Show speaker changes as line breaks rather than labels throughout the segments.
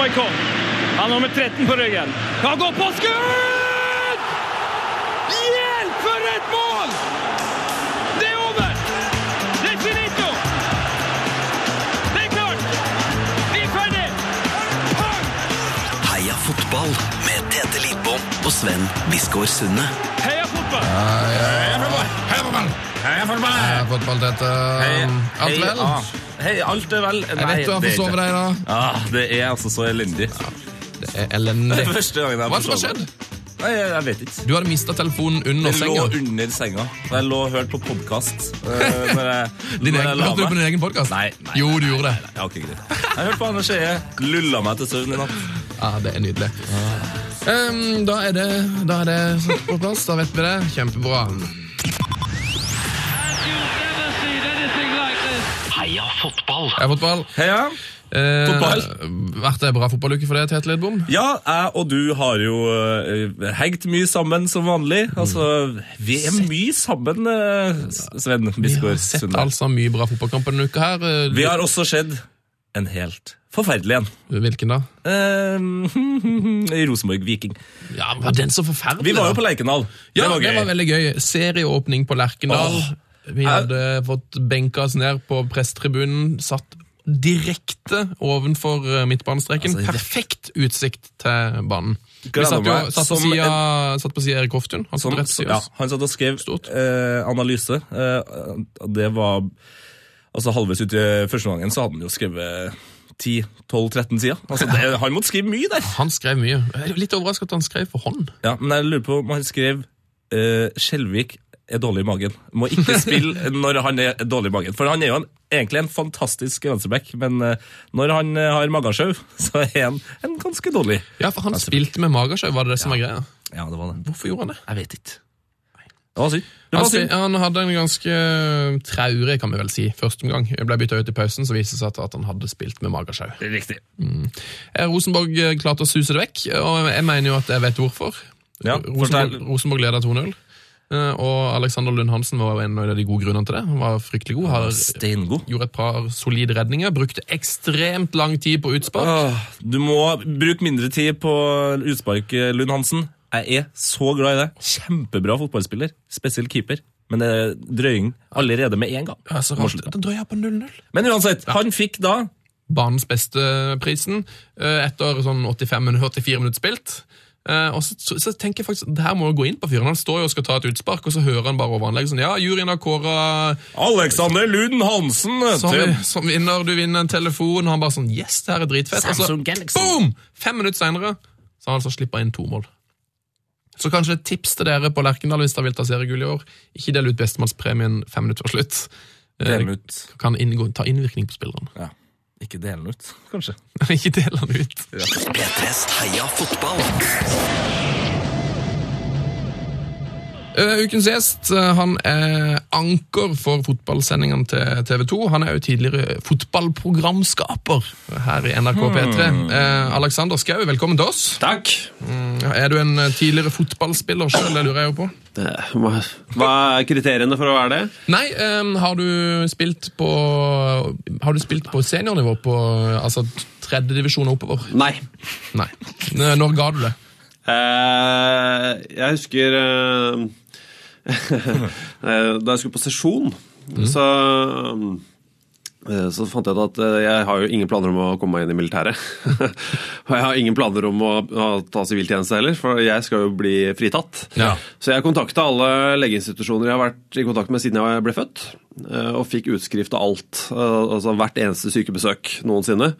kom. Han har nummer 13 på ryggen. Han går på skudd! Hjelp, for et mål! Det er over! Det er finito! Det er klart! Vi er ferdig! Pang!
Heia fotball med Tete Lidbom og Sven Biskår Sunde.
Heia fotball!
Heia fotball!
Heia fotball!
Heia fotball, Tete. Alt
Hei,
vel?
ah. Hei, alt er vel.
Jeg vet du har
det er
forsovet
ikke.
deg i dag.
Ah, det er altså så elendig.
Det er
Det
elendig.
er første gangen jeg
Hva er det som har
forsovet.
skjedd?
Nei, jeg, jeg vet ikke.
Du hadde mista telefonen under
Jeg lå
senga.
under senga. og Jeg lå og hørte på eh, podkast.
Din egen, hørte du på din egen podkast?
Nei, nei,
Jo, du gjorde det.
Ja, ok, greit. Jeg hørte på Anders Eie. Lulla meg til søvn i natt.
Ja, Ah, Det er nydelig. Ehm, da er det, da er det satt på plass. Da vet vi det. Kjempebra.
You've never seen anything like this.
Heia fotball.
Heia fotball.
Heia.
Eh,
Fotball.
Vært ei bra fotballuke for deg, Tete Lidbom?
Ja, jeg og du har jo eh, hengt mye sammen som vanlig. Altså, vi er mye sammen, eh, Sven
Vi har
Biskår
sett
Sunde.
altså mye bra fotballkamper denne uka her. Eh,
Vi har også sett en helt forferdelig en.
Hvilken da?
Eh, I Rosenborg Viking.
Ja, Var den så forferdelig?
Vi var jo
da?
på Lerkendal.
Ja, det var, veldig gøy. Serieåpning på Lerkendal.
Åh.
Vi hadde fått benka oss ned på prestetribunen, satt direkte ovenfor eh, midtbanestreken.
Altså, rett-
Perfekt utsikt til banen. Vi
Gleder
satt, jo,
meg
satt, på
som
sida, satt på sida Erik Hoftun. Han satt
Som,
rett ved siden
Sånn, ja,
av oss.
han satt og skrev
Stort.
eh, analyse. eh, og det var Altså Halvveis ut i første gangen så hadde han jo skrevet 10-12-13 sider. Altså, det, han måtte skrive mye der!
Han skrev mye. Jeg er litt overraska at han skrev for hånd.
Ja, Men jeg lurer på om han skrev eh, Skjelvik er dårlig i magen. Må ikke spille når han er dårlig i magen. For han er jo en, egentlig en fantastisk venstreback, men eh, når han eh, har magesjau, så er han en ganske dårlig.
Ja, for han spilte med magesjau, var det det som var greia?
Ja, det var det.
Hvorfor gjorde han det?
Jeg vet ikke. Det var synd. Det
Han,
var
spi-
synd.
han hadde en ganske eh, traurig, kan vi vel si, første omgang. Jeg Ble bytta ut i pausen, så viste det seg at- at han hadde spilt med magesjau.
Riktig.
Eh, Rosenborg eh, klarte å suse det vekk, og jeg mener jo at jeg vet hvorfor.
Ja,
Rosenborg,
fortell.
Rosenborg leder 2-0, eh, og Alexander Lund Hansen var en av de gode grunnene til det. Han var fryktelig god, har
Steingod.
gjort et par solide redninger, brukte ekstremt lang tid på utspark.
Åh, Du må bruke mindre tid på utspark, eh, Lund Hansen. Jeg er så glad i det. Kjempebra fotballspiller, spesielt keeper. Men det er drøying allerede med én gang.
Ja, så
Må
rart.
slutte.
Den drøya på 0-0.
Men uansett, han fikk da
Banens beste prisen eh, etter sånn 85-84 minutter spilt. Eh, og så, så, så tenker jeg faktisk, det her må jo gå inn på fyren. Han står jo og skal ta et utspark, og så hører han bare over anlegget sånn, ja, juryen har kåret
Alexander Lund Hansen
Som,
til
som vinner, du vinner en telefon. Han bare sånn Yes, det her er dritfett. Og så
Samsung Galaxy.
boom! Fem minutter seinere så har han altså slippa inn to mål. Så kanskje et tips til dere på Lerkendal hvis dere vil ta seriegull i år. Ikke del ut bestemannspremien fem minutter før slutt.
Del den ut.
Kan inngå, ta innvirkning på spillerne.
Ja. Ikke dele den ut, kanskje.
Ikke del han ut.
P3s Heia fotball.
Eh, ukens gjest eh, han er anker for fotballsendingene til TV 2. Han er jo tidligere fotballprogramskaper her i NRK P3. Eh, Alexander Skau, velkommen til oss.
Takk.
Ja, Er du en eh, tidligere fotballspiller sjøl, det lurer jeg jo på?
Hva hva er kriteriene for å være det?
Nei, eh, har du spilt på Har du spilt på seniornivå? På altså tredjedivisjon og oppover?
Nei.
Nei. N- Når ga du det?
Eh, jeg husker eh, eh, Da jeg skulle på sesjon, så eh, så fant jeg ut at eh, jeg har jo ingen planer om å komme meg inn i militæret. Og jeg har ingen planer om å, å ta siviltjeneste heller, for jeg skal jo bli fritatt.
Ja.
Så jeg kontakta alle legeinstitusjoner jeg har vært i kontakt med siden jeg ble født, eh, og fikk utskrift av alt, eh, altså hvert eneste sykebesøk noensinne.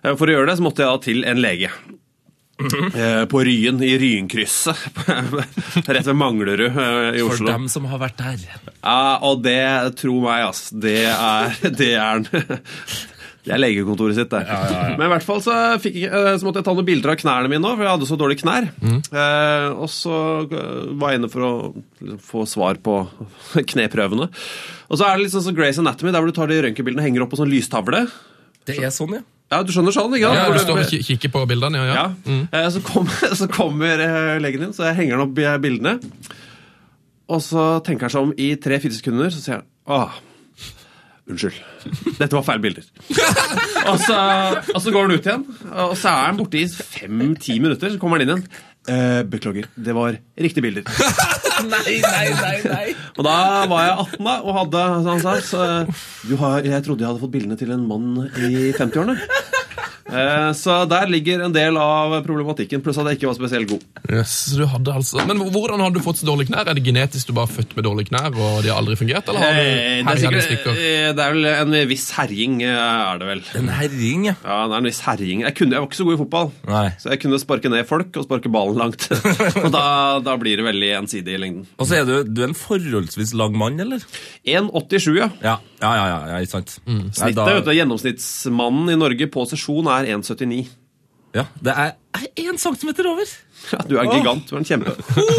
Eh, For å gjøre det så måtte jeg da til en lege. Eh, På Ryen, i Ryenkrysset. Rett ved Manglerud eh, i
For
Oslo.
dem som har vært der.
Ja, og det, tro meg, ass, det er Det er, det er legekontoret sitt, det. Men i hvert fall så, fikk, jeg- eh, så måtte jeg ta noen bilder av knærne mine nå, for jeg hadde så dårlige knær.
Mm.
Eh, og så eh, var jeg inne for å liksom, få svar på kneprøvene. Og så er det litt sånn som Grace Anatomy, der hvor du tar de røntgenbildene og henger opp på sånn lystavle.
Det er sånn, ja.
Ja, du skjønner sånn, ikke sant?
Ja,
Hvor
du
du-
står og ki- kikker på bildene? Ja, ja.
ja. Eh, Så, kom, så kommer eh, legen din, så jeg henger den opp i eh, bildene. Og så tenker han seg om i tre-fire sekunder, så sier han Åh, Unnskyld. Dette var feil bilder. og, så, og så går han ut igjen, og så er han borte i fem-ti minutter. Så kommer han inn igjen. Eh, beklager, det var riktige bilder.
Nei, nei, nei, nei.
Og da var jeg 18 da, og hadde så han sa, så, eh, du har, Jeg trodde jeg hadde fått bildene til en mann i 50-årene. Eh, så der ligger en del av problematikken, pluss at jeg ikke var spesielt god.
Yes, så du hadde altså... Men hvordan har du fått så dårlige knær? Er det genetisk du bare er født med dårlige knær, og de har aldri fungert? Eller har du
Eh, Det er,
herjede
sikkert,
stykker?
eh, det er vel en viss herjing, eh, er det vel.
En herring, ja.
Ja, det er en viss herjing. Jeg, kunne, jeg var ikke så god i fotball,
Nei.
så jeg kunne sparke ned folk og sparke ballen langt. og da, da blir det veldig ensidig i lengden.
Og så er du, du er en forholdsvis lang mann, eller? Mm.
1,87, ja.
Ja, ja, ja, ja, ja ikke sant. Nei,
Snittet,
da-
vet du, Gjennomsnittsmannen i Norge på sesjon er 1,79.
Ja, det er én centimeter over.
Ja, Du er en gigant, du er en kjempe.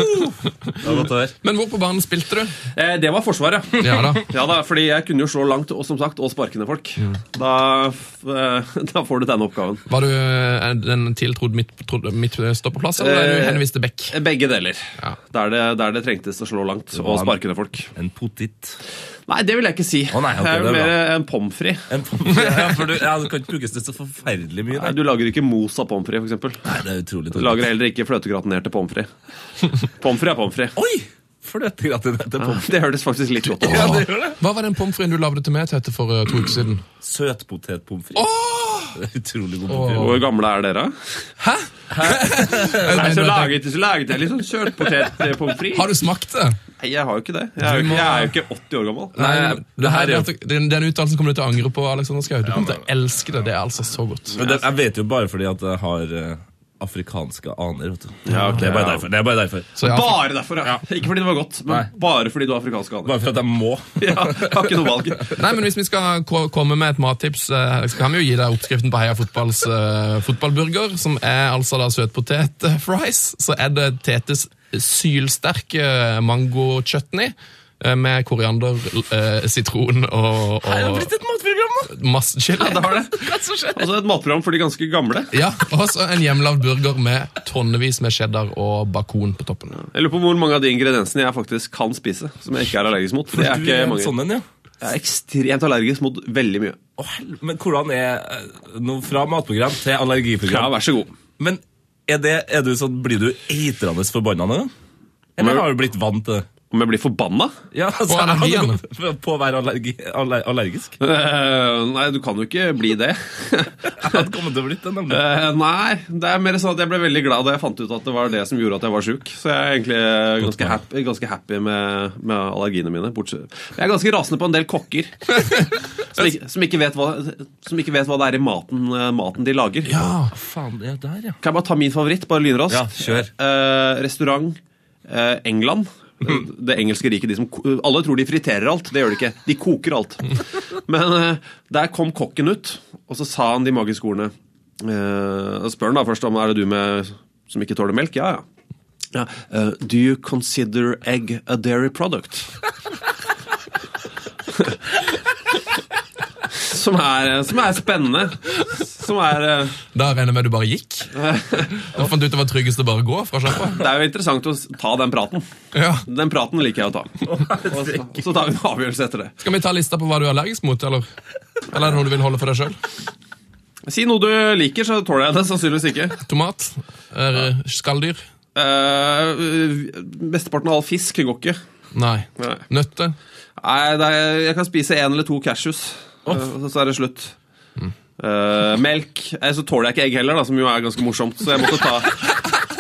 Det var godt å høre.
Men hvor på banen spilte du?
Eh, det var Forsvaret.
Ja da.
Ja da, fordi jeg kunne jo slå langt og som sagt, og sparke ned folk. Da, f- eh, da får du denne oppgaven.
Var du eh, en tiltrodd midt, trodd- midtstopperplass, eller er du
Eh,
henvist til Beck?
Begge deler.
Ja.
Der, det, der det trengtes å slå langt
var
og
en-
sparke ned folk.
En potet.
Nei, det vil jeg ikke si.
Å, nei, ok,
jeg
det
er
er
jo mer en pommes frites.
En pommes frites. Ja, for du, ja, det kan ikke brukes til så forferdelig mye.
Nei,
Nei,
Du lager ikke mos av pommes frites, f.eks.
Nei, det er utrolig
Du lager heller ikke fløtegratinerte pommes frites. Pommes frites er pommes frites.
Oi! Fløtegratin etter pommes
Det hørtes faktisk litt godt ut.
Ja, det gjør det.
Hva var den pommes fritesen du lagde til meg til etter for eh, to uker siden?
Ah. Søtpotetpommes frites. Det er Utrolig god pommes frites.
Hvor gamle er dere? Nei, så laget, så laget jeg litt sånn kjøltpotet pommes frites.
Har du smakt det?
Nei, jeg har jo ikke det. Jeg er jo ikke, jeg er jo ikke 80 år gammel.
Nei,
Nei,
det her,
det her er
den, den uttalelsen kommer du til å angre på, Alexander Skau. Du kommer til å elske det. Det er altså så godt.
Men det, jeg vet jo bare fordi at jeg har eh, afrikanske aner. Vet du.
Ja, ok,
det, er bare
ja.
derfor, det er bare derfor.
Så jeg, har-
Bare derfor, ja. Ikke fordi det var godt, men
Nei.
bare fordi du er afrikansk aner.
Bare for at jeg må.
Ja, jeg har ikke noe valg.
nei, men Hvis vi skal ko- komme med et mattips, eh, så kan vi jo gi deg oppskriften på Heia Fotballs eh, fotballburger, som er altså da søtpotet-fries. Så er det Tetes sylsterke mango-chutney eh, med koriander, eh, sitron og, og
et matprogram, da!
masse chili.
Det har det.
Hva som skjer?
Altså et matprogram for de ganske gamle.
Ja, og så en hjemmelagd burger med tonnevis med cheddar og bakon på toppen.
Jeg lurer på hvor mange av de ingrediensene jeg faktisk kan spise, som jeg ikke er allergisk mot. Det er
Du
ikke
er en
mange.
sånn en, ja.
Jeg er ekstremt allergisk mot veldig mye.
Å, hel- Men hvordan er eh, nå fra matprogram til
Ja,
allergiprogram?
vær så god.
Men er det, er du sånn, blir du eitrende forbanna nå? Eller har du blitt vant til det?
Om jeg blir forbanna?
Ja, altså,
allergien.
På å være allergi, aller, allergisk?
Eh, nei, du kan jo ikke bli det.
Jeg hadde kommet til å blitt det, nemlig.
Eh, nei, det er mer sånn at jeg ble veldig glad da jeg fant ut at det var det som gjorde at jeg var sjuk. Så jeg er egentlig ganske
poeng.
happy, ganske happy med, med allergiene mine. Bortsett. Jeg er ganske rasende på en del kokker som, ikke, som, ikke vet hva, som ikke vet hva det er i maten, eh, maten de lager.
Ja,
Faen, ja, der, ja.
Kan jeg bare ta min favoritt, bare lynraskt?
Ja, kjør.
Eh, restaurant eh, England. Det engelske riket, de som ko- Alle tror de friterer alt. Det gjør de ikke. De koker alt. Men eh, der kom kokken ut, og så sa han de magiske ordene eh, og Spør han da først om er det du med som ikke tåler melk. Ja, ja. ja eh, do you consider egg a dairy product? som, er, som er spennende. Som er eh,
Da regner jeg med du bare gikk? Du fant ut det var tryggest å bare gå fra sjappa?
Det er jo interessant å s- ta den praten.
Ja.
Den praten liker jeg å ta. Og så- og så tar vi en avgjørelse etter det.
Skal vi ta lista på hva du er allergisk mot, eller? Eller er det noe du vil holde for deg sjøl?
Si noe du liker, så tåler jeg det sannsynligvis ikke.
Tomat? Er, skalldyr?
Eh, Mesteparten av all fisk går ikke.
Nei.
Nei.
Nøtter?
Nei, det er, Jeg kan spise én eller to cashews, eh, og så er det slutt. Eh, melk eh, Så tåler jeg ikke egg heller, da, som jo er ganske morsomt. Så jeg måtte ta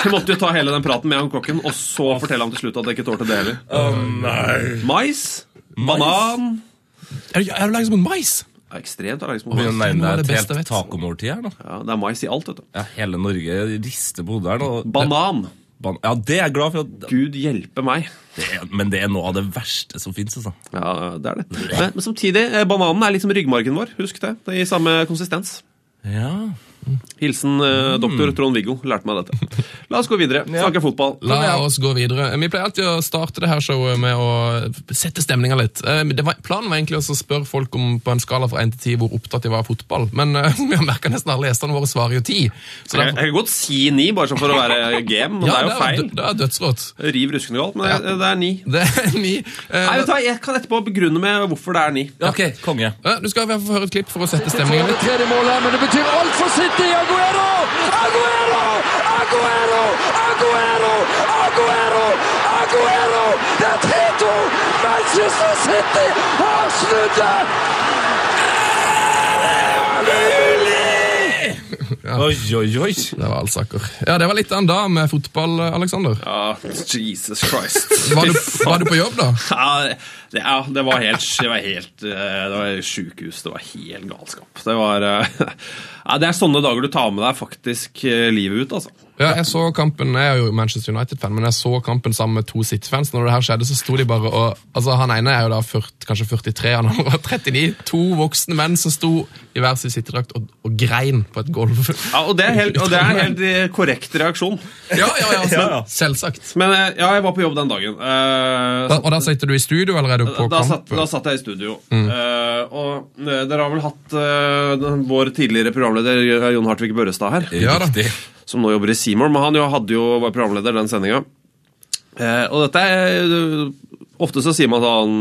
jeg måtte jo ta hele den praten med han kokken, og så fortelle ham til slutt at jeg ikke tålte det heller.
Å nei.
Mais, banan
Er du, er du allergisk mot mais?
Jeg er Ekstremt allergisk
Vi
mot mais.
nærmer
Noe av
deg
det
et
beste jeg
helt
vet.
tacomåltid her nå.
Ja, det er mais i alt, vet du.
Ja, hele Norge rister på hodet her nå.
Banan.
Ban- Ja, det er jeg glad for. At
Gud hjelpe meg.
det er, men det er noe av det verste som fins. Altså.
Ja, det er det. Men, men samtidig, eh, bananen er liksom ryggmargen vår. Husk det. Det gir samme konsistens.
Ja.
Hilsen eh, doktor Trond-Viggo. Lærte meg dette. La oss gå videre. Snakke fotball.
La oss gå videre. Vi pleier alltid å starte det her showet med å sette stemninga litt. Eh, Det var, planen var egentlig også å spørre folk om på en skala fra 1 til 10 hvor opptatt de var av fotball, men eh, vi har merka nesten alle gjestene våre svarer jo 10. Så
Jeg, jeg
derfor,
kan godt si ni, bare sånn for å være game, men det er jo feil.
dø- Det er dødsrått.
Riv ruskende galt, men det, det er ni.
Det er ni. Eh,
Nei, vet du hva, Jeg kan etterpå begrunne med hvorfor det er ni.
Ja, ok, konge.
eh, Du skal i hvert fall få høre et klipp for å sette stemninga litt.
tredje mål her, men det betyr alt for City. Aguero! Aguero! Aguero! Aguero! Aguero! Aguero! Det er 3-2! Manchester City har snudd det!
Oi, oi, oi.
Det var Alsaker. Ja, det var litt av en dag med fotball, eh, Alexander.
Ja, Jesus Christ.
Var du, var du på jobb, da?
Ja, det, ja, det var helt, det var helt eh, Det var sjukehus. Det var helt galskap. Det var eh, ja, Det er sånne dager du tar med deg faktisk eh, livet ut, altså.
Ja, jeg så kampen, jeg er jo Manchester United-fan, men jeg så kampen sammen med to City-fans. Når det her skjedde, så sto de bare og altså Han ene er jo da 40, kanskje 43, han andre var 39. To voksne menn som sto i hver sin City-drakt og, og grein på et gulv.
Ja, og det er helt, og det er en helt eh, korrekt reaksjon.
Ja, ja, ja, altså,
Ja, ja.
Selvsagt.
Men eh, ja, jeg var på jobb den dagen. Eh,
Da, og da sitter du i studio, eller er du på
da, satt,
kamp? Mm.
da satt jeg i studio. Eh, og eh, dere har vel hatt eh, den- vår tidligere programleder eh, Jon Hartvig Børrestad her?
Ja da.
Riktig.
som nå jobber i Seymour, men han jo hadde jo, var programleder den sendinga. Eh, og dette er eh, Ofte så sier man sånn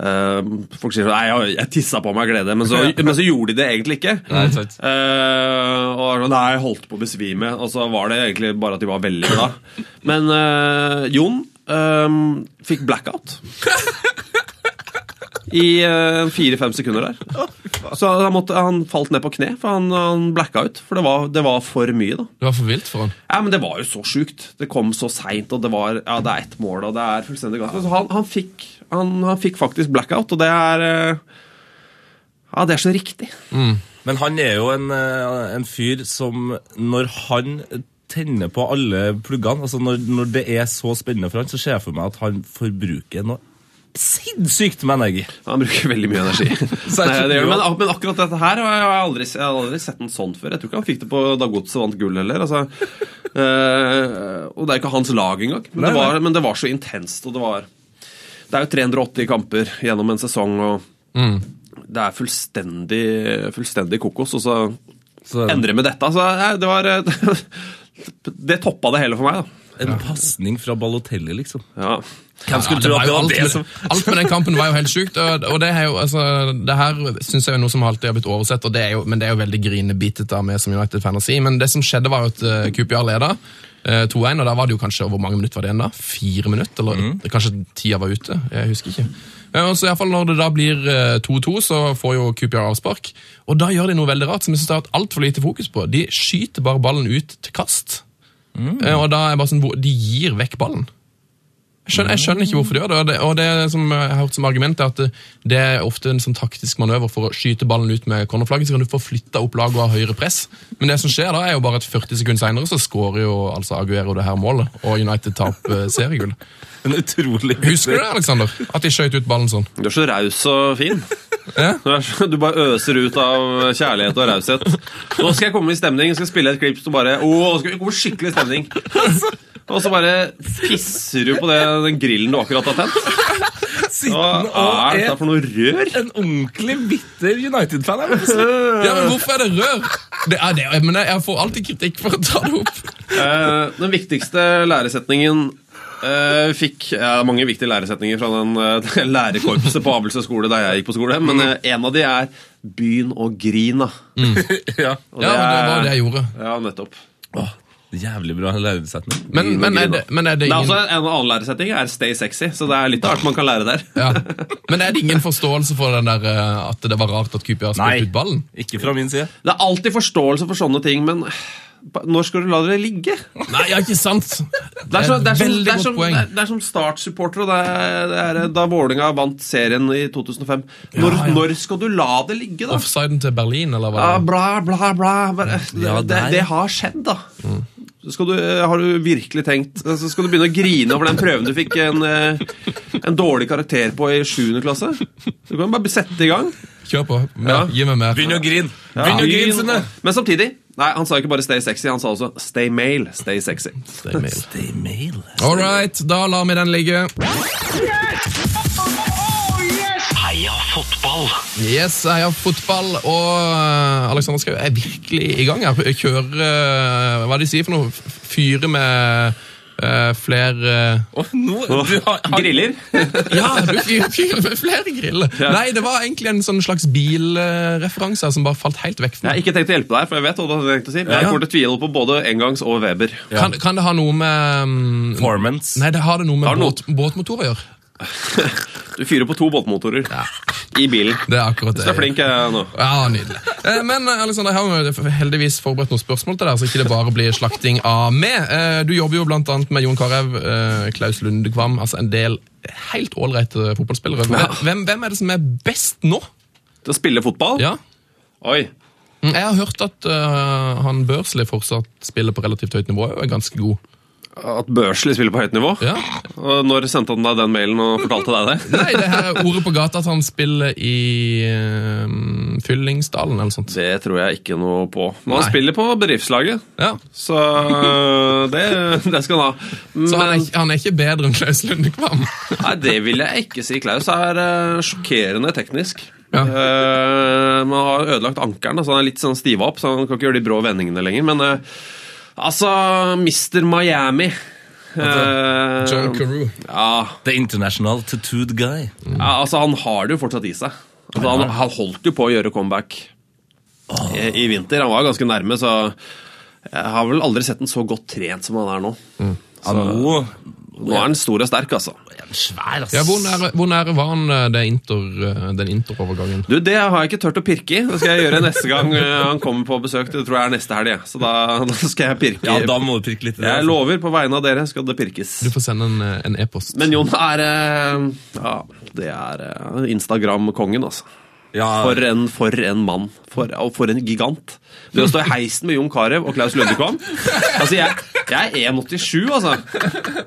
eh, Folk sier sånn Nei, jeg, jeg tissa på meg av glede, men så, men så gjorde de det egentlig ikke.
Nei, sant.
Eh, og var sånn, Nei, jeg holdt på å besvime. Og så var det egentlig bare at de var veldig glad. Men eh, Jon eh, fikk blackout. I eh, fire-fem sekunder der. Så han, måtte, han falt ned på kne, for han, han blacka ut. For det var, det var for mye, da.
Det var for vilt for han.
Ja, men Det var jo så sjukt. Det kom så seint, og det var ja, det er ett mål, og det er fullstendig galt. Altså, han, han, fikk, han, han fikk faktisk blackout, og det er eh, Ja, det er så riktig.
Men han er jo en, eh, en fyr som når han tenner på alle pluggene, altså når, når det er så spennende for han, så ser jeg for meg at han forbruker noe sinnssykt med energi.
Han bruker veldig mye energi. Nei, det gjør, det. men, ak- men akkurat dette her har jeg aldri, jeg har aldri sett den sånn før. Jeg tror ikke han fikk det på da Godset vant gull heller. Altså, Eh, og det er ikke hans lag engang. Men, det, var, men det var så intenst, og det var Det er jo 380 kamper gjennom en sesong, og
Mm.
det er fullstendig, fullstendig kokos. Og så
Så en,
endre med dette. Altså, nei, det var eh, Det toppa det hele for meg, da.
en pasning fra Balotelli, liksom.
Ja.
Hvem skulle tro
var
at
jo
det var liksom.
alt,
det
med,
som
alt med den kampen var jo helt sjukt. Og, og det, er jo, altså, det her synes jeg er noe som alltid har blitt oversett, og det er jo, men det er jo veldig grinebitete av meg som United-fan å si. Men det som skjedde, var jo at uh, QPR leda. eh, 2-1, og da var det jo kanskje Hvor mange minutter var det igjen da? Fire minutter? Eller
Mhm.
kanskje tida var ute? Jeg husker ikke. Eh, Og så i hvert fall Når det da blir eh, 2-2, så får jo QPR avspark. Og da gjør de noe veldig rart som jeg synes det har vært altfor lite fokus på. De skyter bare ballen ut til kast.
Mm.
Eh, Og da er jeg bare sånn, hvor- De gir vekk ballen. Jeg skjønner, jeg skjønner ikke hvorfor de gjør det. og det. Og det som jeg har hørt som argument, er at det- det er ofte en sånn taktisk manøver for å skyte ballen ut med cornerflagget, så kan du få flytta opp laget og ha høyere press. Men det som skjer da, er jo bare at 40 sekunder seinere så skårer jo altså Aguero det her målet, og United taper eh, seriegull.
En utrolig
Husker du det, Alexander? At de skjøt ut ballen sånn?
Du er så raus og fin. Du, er så, du bare øser ut av kjærlighet og raushet. Nå skal jeg komme i stemning, jeg skal spille et klipp som bare Å, nå skal vi komme i skikkelig stemning. Og så bare pisser du på det, den grillen du akkurat har tent. Hva
Sitten
er dette
og
for noe rør?
er en ordentlig bitter United-fan. jeg må si.
Ja, men Hvorfor er det rør? Det er det, men Jeg jeg får alltid kritikk for å ta det opp.
Eh, den viktigste læresetningen eh, fikk ja, Mange viktige læresetninger fra den eh, lærerkorpset på Abelsø skole der jeg gikk på skole, men eh, en av de er 'begynn å grine'.
Ja.
Og
Ja, men Det var det jeg gjorde.
Ja, nettopp.
Åh, jævlig bra lærerutsetning.
Men, men, er, det, men er det
Det er
ingen
også en annen læresetning er 'stay sexy', så det er litt av alt man kan lære der.
Ja. Men er det ingen forståelse for den der, eh, at det var rart at Cooper
Nei.
spilte ut ballen?
Ikke fra min side.
Det er alltid forståelse for sånne ting, men når skal du la det ligge?
Nei, ja, ikke sant?
Det er, så, det, er som,
veldig
det, er
godt
som,
poeng.
det, er, det er som Start-supporter, og det er, det er da Vålinga vant serien i 2005. Når, når skal du la det ligge, da?
Offsiden til Berlin, eller hva?
Ja, bla, bla, bla. Bare,
Ja,
det,
der,
det
ja.
har skjedd, da.
Mm.
Skal du, eh, har du virkelig tenkt Så skal du begynne å grine over den prøven du fikk en, eh, en dårlig karakter på i 7. klasse? Du kan bare sette i gang.
Kjør på. Mer.
Ja.
Gi meg mer.
Begynn å grine!
Ja.
Begynn å grine, Synne!
Men samtidig Nei, han sa ikke bare 'stay sexy', han sa også 'stay male, stay sexy'.
Stay male. All right, da lar vi den ligge.
Heia fotball!
Yes, jeg har fotball, og eh, Alexander Schou er virkelig i gang. her. Kjører eh, Hva er det de sier for noe? F- Fyre med eh, flere eh,
Åh, nå, du har, har,
Griller.
Ja, du fyrer fyrer med flere griller! Nei, det var egentlig en sånn slags bilreferanse som bare falt helt vekk.
Jeg
for
har
meg.
ikke tenkt å hjelpe deg, for jeg vet hva du har tenkt å si. Men jeg
Ja.
kommer til å tvile på både engangs og Weber.
Kan, kan det ha noe med mm,
Performance.
Nei, det har det noe med
Har det noe-
båt, båtmotor å gjøre.
Du fyrer på to båtmotorer i bilen.
Det er akkurat det.
Så er flink jeg nå.
Ja, nydelig. Eh, Men eh, Alexander, jeg har jo heldigvis forberedt noen spørsmål til deg, så ikke det bare blir slakting av meg. Eh, Du jobber jo blant annet med Jon Carew, eh, Klaus Lundekvam, altså en del helt ålreite fotballspillere. Hvem- Hvem, hvem er det som er best nå?
Til å spille fotball?
Ja.
Oi.
Mm, Jeg har hørt at eh, han Børsli fortsatt spiller på relativt høyt nivå, og er ganske god.
At Børsli spiller på høyt nivå?
Ja.
Og Når sendte han deg den mailen og fortalte deg det?
Nei, det her er ordet på gata at han spiller i eh, Fyllingsdalen eller noe sånt.
Det tror jeg ikke noe på. Men han
Nei.
spiller på bedriftslaget,
Ja.
så det, det skal han ha.
Så han er,
Men,
ikke- han er ikke bedre enn Klaus Lundekvam.
nei, det vil jeg ikke si. Klaus er eh, sjokkerende teknisk.
Ja.
Eh, man har ødelagt ankelen, så han er litt sånn stiva opp, så han kan ikke gjøre de brå vendingene lenger. Men eh, altså, Mr. Miami eh,
Altså, John Carew.
ja,
The International Tattooed Guy.
Ja, altså Han har det jo fortsatt i seg. Altså, han, han holdt jo på å gjøre comeback i, i vinter. Han var ganske nærme, så jeg har vel aldri sett den så godt trent som han er nå.
Han nå
Nå er han stor og sterk, altså.
er svær, ass.
Ja, hvor nære, hvor nære var han eh, det inter, eh, den interovergangen?
Du, Det har jeg ikke turt å pirke i. Det skal jeg gjøre neste gang eh, han kommer på besøk. Det tror jeg er neste helg. jeg. Så da, da skal jeg pirke.
Ja, da må du pirke litt i det.
jeg
altså.
lover, på vegne av dere skal det pirkes.
Du får sende en, eh, en e-post.
Men Jon er eh, Ja, det er eh, Instagram-kongen, altså.
Ja,
For en, for en mann. For, og for en gigant. Du å stå i heisen med Jon Carew og Klaus Lundekvam altså, jeg, jeg er 1,87, altså.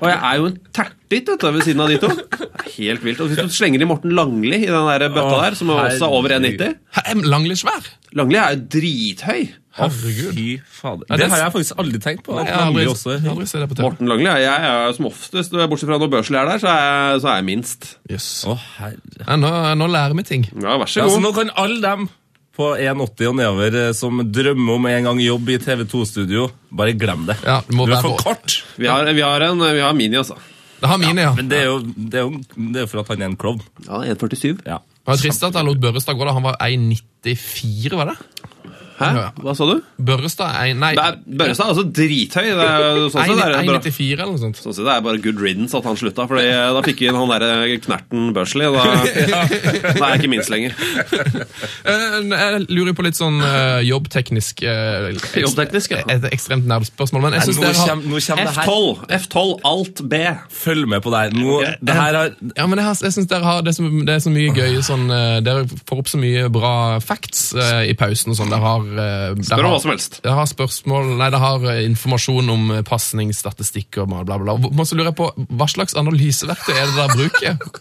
Og jeg er jo en tertit vet du, ved siden av de to. Det er Helt vilt. Og hvis du slenger i Morten Langli i den der bøtta
Å,
der, som er også er over 1,90
Hæ, er Langli svær?
Langli er jo drithøy.
Herregud.
fy fader.
det
Det
er-
har jeg faktisk aldri tenkt på.
Nei, jeg
At
har aldri,
Langli også
jeg har aldri sett det på TV.
Morten Langli er jeg er jo som oftest, bortsett fra når Børsli er der, så er jeg, så er jeg minst.
Yes.
Å, herre.
Ja, nå, nå lærer vi ting.
Ja, vær så
Ja, så
god.
nå kan alle dem på 1,80 og nedover eh, som drømmer om en gang jobb i TV2-studio, bare glem det.
Ja, det må
du er
være
for
vår-
kort.
Vi har, vi har en vi har Mini, altså.
Det har mine, ja.
Men det er jo, det er jo det er jo for at han er en klovn.
Ja, 1,47.
Ja.
Det var trist at jeg lot Børrestad gå da. Han var 1,94, var det?
Hæ?
Ja.
Hva sa du?
Børrestad er en- Nei,
Det er- Børrestad er også drithøy. Det er, jo- sånn sett er det bra.
1,94 eller noe sånt.
Sånn sett, Det er bare good riddance at han slutta, Fordi eh, da fikk vi inn han der knerten Børsli. og Da, da er jeg ikke minst lenger.
Eh, Jeg lurer på litt sånn eh, jobbteknisk eh, ekst-
Jobbteknisk, ja.
Et ekstremt nerdspørsmål, men jeg syns
Nå
dere har
kommer, nå kommer det her.
F12, F12 alt B.
Følg med på det her. Nå, det her har,
Ja, men jeg, har- jeg synes dere har det, er så- det er så mye gøy sånn, eh, Dere får opp så mye bra facts eh, i pausen og sånn. Dere har, eh, dere
Spør om
har-
hva som helst.
Dere har spørsmål Nei, dere har eh, informasjon om eh, pasningsstatistikk og bla, bla, bla. Og så lurer jeg på, Hva slags analyseverktøy er det dere bruker?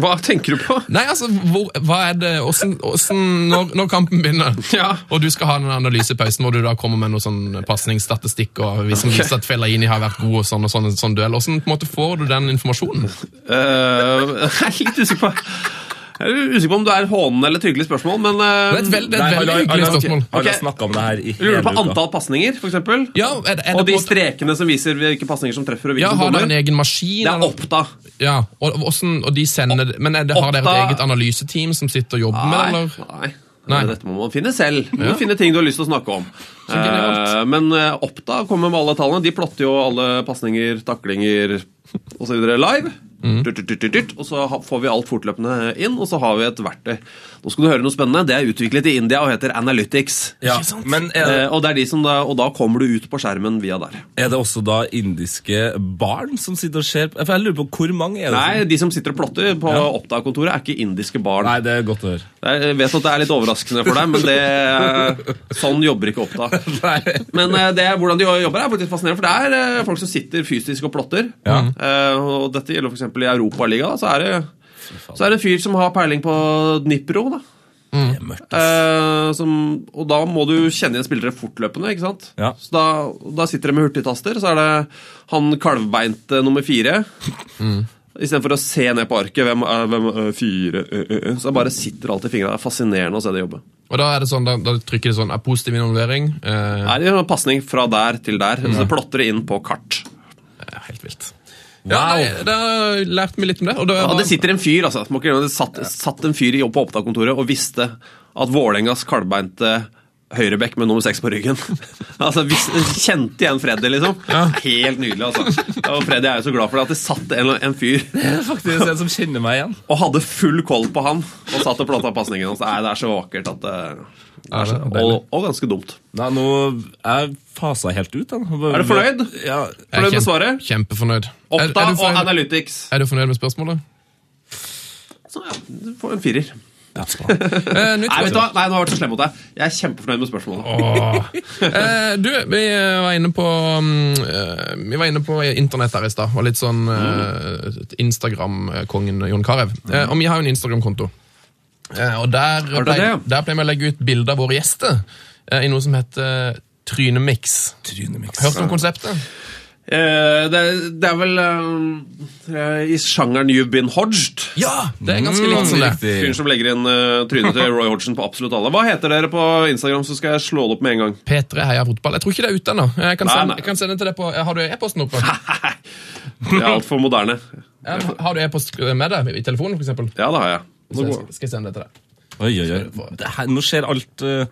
Hva tenker du på?
Nei, altså, hvor, hva er det hvordan, hvordan, når, når kampen begynner,
Ja.
og du skal ha den analysepausen hvor du da kommer med noe sånn pasningsstatistikk og hvis som viser at Fellaini har vært god og sånn og sånn, sånn duell, hvordan på en måte, får du den informasjonen?
Eh, jeg er litt usikker på Jeg er usikker på om det er et hånende eller et hyggelig spørsmål, men eh,
Det er et veldig, det er et veldig
Nei, han- han-
hyggelig
han-
spørsmål.
Han har
Ok.
snakket om det her i hele
Lurer du på
uka.
antall pasninger, f.eks.?
Ja, er, det- er det på
Og
en
de
måte-
strekene som viser hvilke pasninger som treffer, og hvilke
Ja,
som
har dere en
bommer?
egen maskin?
Det er
eller-
Oppda.
Ja, og, og, hvordan- og de sender det- Men er det, har dere et
Oppda-
eget analyseteam som sitter og jobber med det, eller?
Nei.
Nei.
Dette må man finne selv. Du må finne ting du har lyst til å snakke om.
genialt.
Eh, men eh, Oppda kommer med alle tallene. De plotter jo alle pasninger, taklinger osv. live.
Mm.
Dyrt, dyrt, dyrt, dyrt, dyrt. Og så ha- får vi alt fortløpende inn, og så har vi et verktøy. Nå skal du høre noe spennende. Det er utviklet i India og heter Analytics.
Ja, men er det,
Eh, og, det er de som da, og da kommer du ut på skjermen via der.
er det også da indiske barn som sitter og ser på? For jeg lurer på hvor mange er det
Nei,
som
de som sitter og plotter på Oppda-kontoret, er ikke indiske barn.
Nei, det er godt å høre.
Jeg vet at det er litt overraskende for deg, men det, sånn jobber ikke Oppda.
Nei.
Men eh, det, hvordan de jobber er faktisk fascinerende, for det er eh, folk som sitter fysisk og plotter. Eh, og dette gjelder f.eks. i Europaligaen. Så, er det- så er det en fyr som har peiling på Dnipro. Da.
Det er mørkt.
Eh, som, og da må du kjenne igjen spillere fortløpende. ikke sant?
Ja.
Så da, da sitter de med hurtigtaster. Så er det han kalvbeinte nummer fire. Istedenfor å se ned på arket. Hvem er hvem, er fire ø, ø, ø. Så bare sitter alt i fingra. Det er fascinerende å se det jobbe.
Og da er det sånn, da, da trykker det sånn er positiv involvering. Eh,
Det er en pasning fra der til der. Så det plotter det inn på kart.
det er helt vilt. Ja, nei, da har jeg lært meg litt om det. Og det,
Ja,
var-
det sitter en fyr, altså. Må ikke glemme Det satt, satt en fyr i jobb på opptakskontoret og visste at Vålerengas kalvbeinte høyrebekk med nummer seks på ryggen. altså, vis- Kjente igjen Freddy, liksom. Helt nydelig, altså. Og Freddy er jo så glad for det at det satt en, en fyr
Det er faktisk en som kjenner meg igjen.
og hadde full koll på han og satt og plotta pasningen hans. Nei, det er så vakkert at eh, det,
Ja, det er deilig.
og, og ganske dumt.
Nei, nå Jeg fasa helt ut. Da.
Er du fornøyd?
Ja.
Jeg er
fornøyd med svaret?
Kjempefornøyd. Er, er, du
Oppta og
fornøyd,
Analytics.
er du fornøyd med spørsmålet?
Så ja, du får en firer.
Eh, nytt
Nei,
spørsmål.
vet du hva? Nei, nå har jeg vært så slem mot deg. Jeg er kjempefornøyd med spørsmålet.
Åh. Eh, du, vi eh, var inne på mm, eh, Vi var inne på internett her i stad, og litt sånn eh, Instagram-kongen Jon Carew. Eh, og vi har jo en Instagram-konto. Eh, og der
du det, ja?
pleier, der pleier vi å legge ut bilder av våre gjester eh, i noe som heter Trynemix.
Trynemix.
Hørt om konseptet?
Eh, det, det er vel eh, i sjangeren You've Been Hodged.
Ja! Det er ganske
Mm.
likt som det.
Fyren som legger inn eh, trynet til Roy Hodgson på absolutt alle. Hva heter dere på Instagram, så skal jeg slå det opp med en gang?
P3 Heia Fotball. Jeg tror ikke det er ute ennå. Eh, Jeg, kan
Nei,
sende-
nei.
jeg kan sende til deg på eh, Har du e-posten oppe?
Det er altfor moderne.
Ja, har du e-post med deg i telefonen, for eksempel?
Ja, det har jeg. Nå
Så
går.
jeg skal sende det til deg.
Oi, oi, oi. Det her, nå skjer alt eh,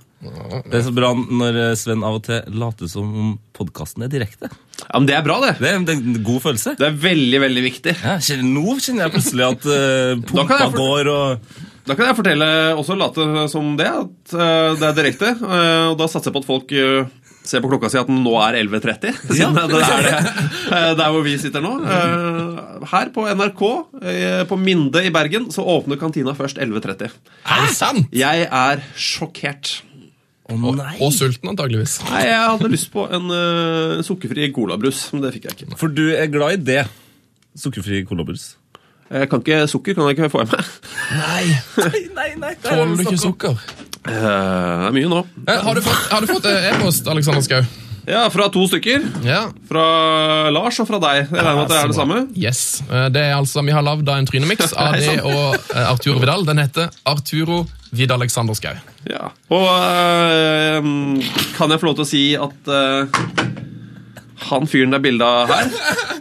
Det er så bra når eh, Sven av og til later som om podkasten er direkte.
Ja, men det er bra, det.
Det er en, det er en god følelse.
Det er veldig, veldig viktig.
Ja, kjenner, nå kjenner jeg plutselig at eh,
Da kan
pumpa
jeg for-
går og
Da kan jeg fortelle, også late som det, at eh, det er direkte. eh, og da satser jeg på at folk eh, ser på klokka si at den nå er 11.30. Siden det er det, eh, der hvor vi sitter nå. Eh, her på NRK, eh, på Minde i Bergen, så åpner kantina først 11.30.
Er det sant?
Jeg er sjokkert.
Å nei!
Og sulten, antageligvis.
Nei, jeg hadde lyst på en eh, sukkerfri colabrus, men det fikk jeg ikke.
For du er glad i det. Sukkerfri colabrus.
Jeg kan ikke sukker, kan jeg ikke få i meg.
Nei,
Nei, nei,
Tåler du ikke sukker?
Eh, det er mye nå.
Eh, har du fått, har du fått eh, e-post, Alexander Skau?
Ja, fra to stykker.
Ja.
Fra Lars og fra deg. Jeg regner med at det er det samme.
Yes. Eh, det er altså, Vi har lagd en trynemiks av det og eh, Arturo Vidal. Den heter Arturo Vidal Alexander Skau.
Ja. Og eh, kan jeg få lov til å si at eh, han fyren det er bilde av her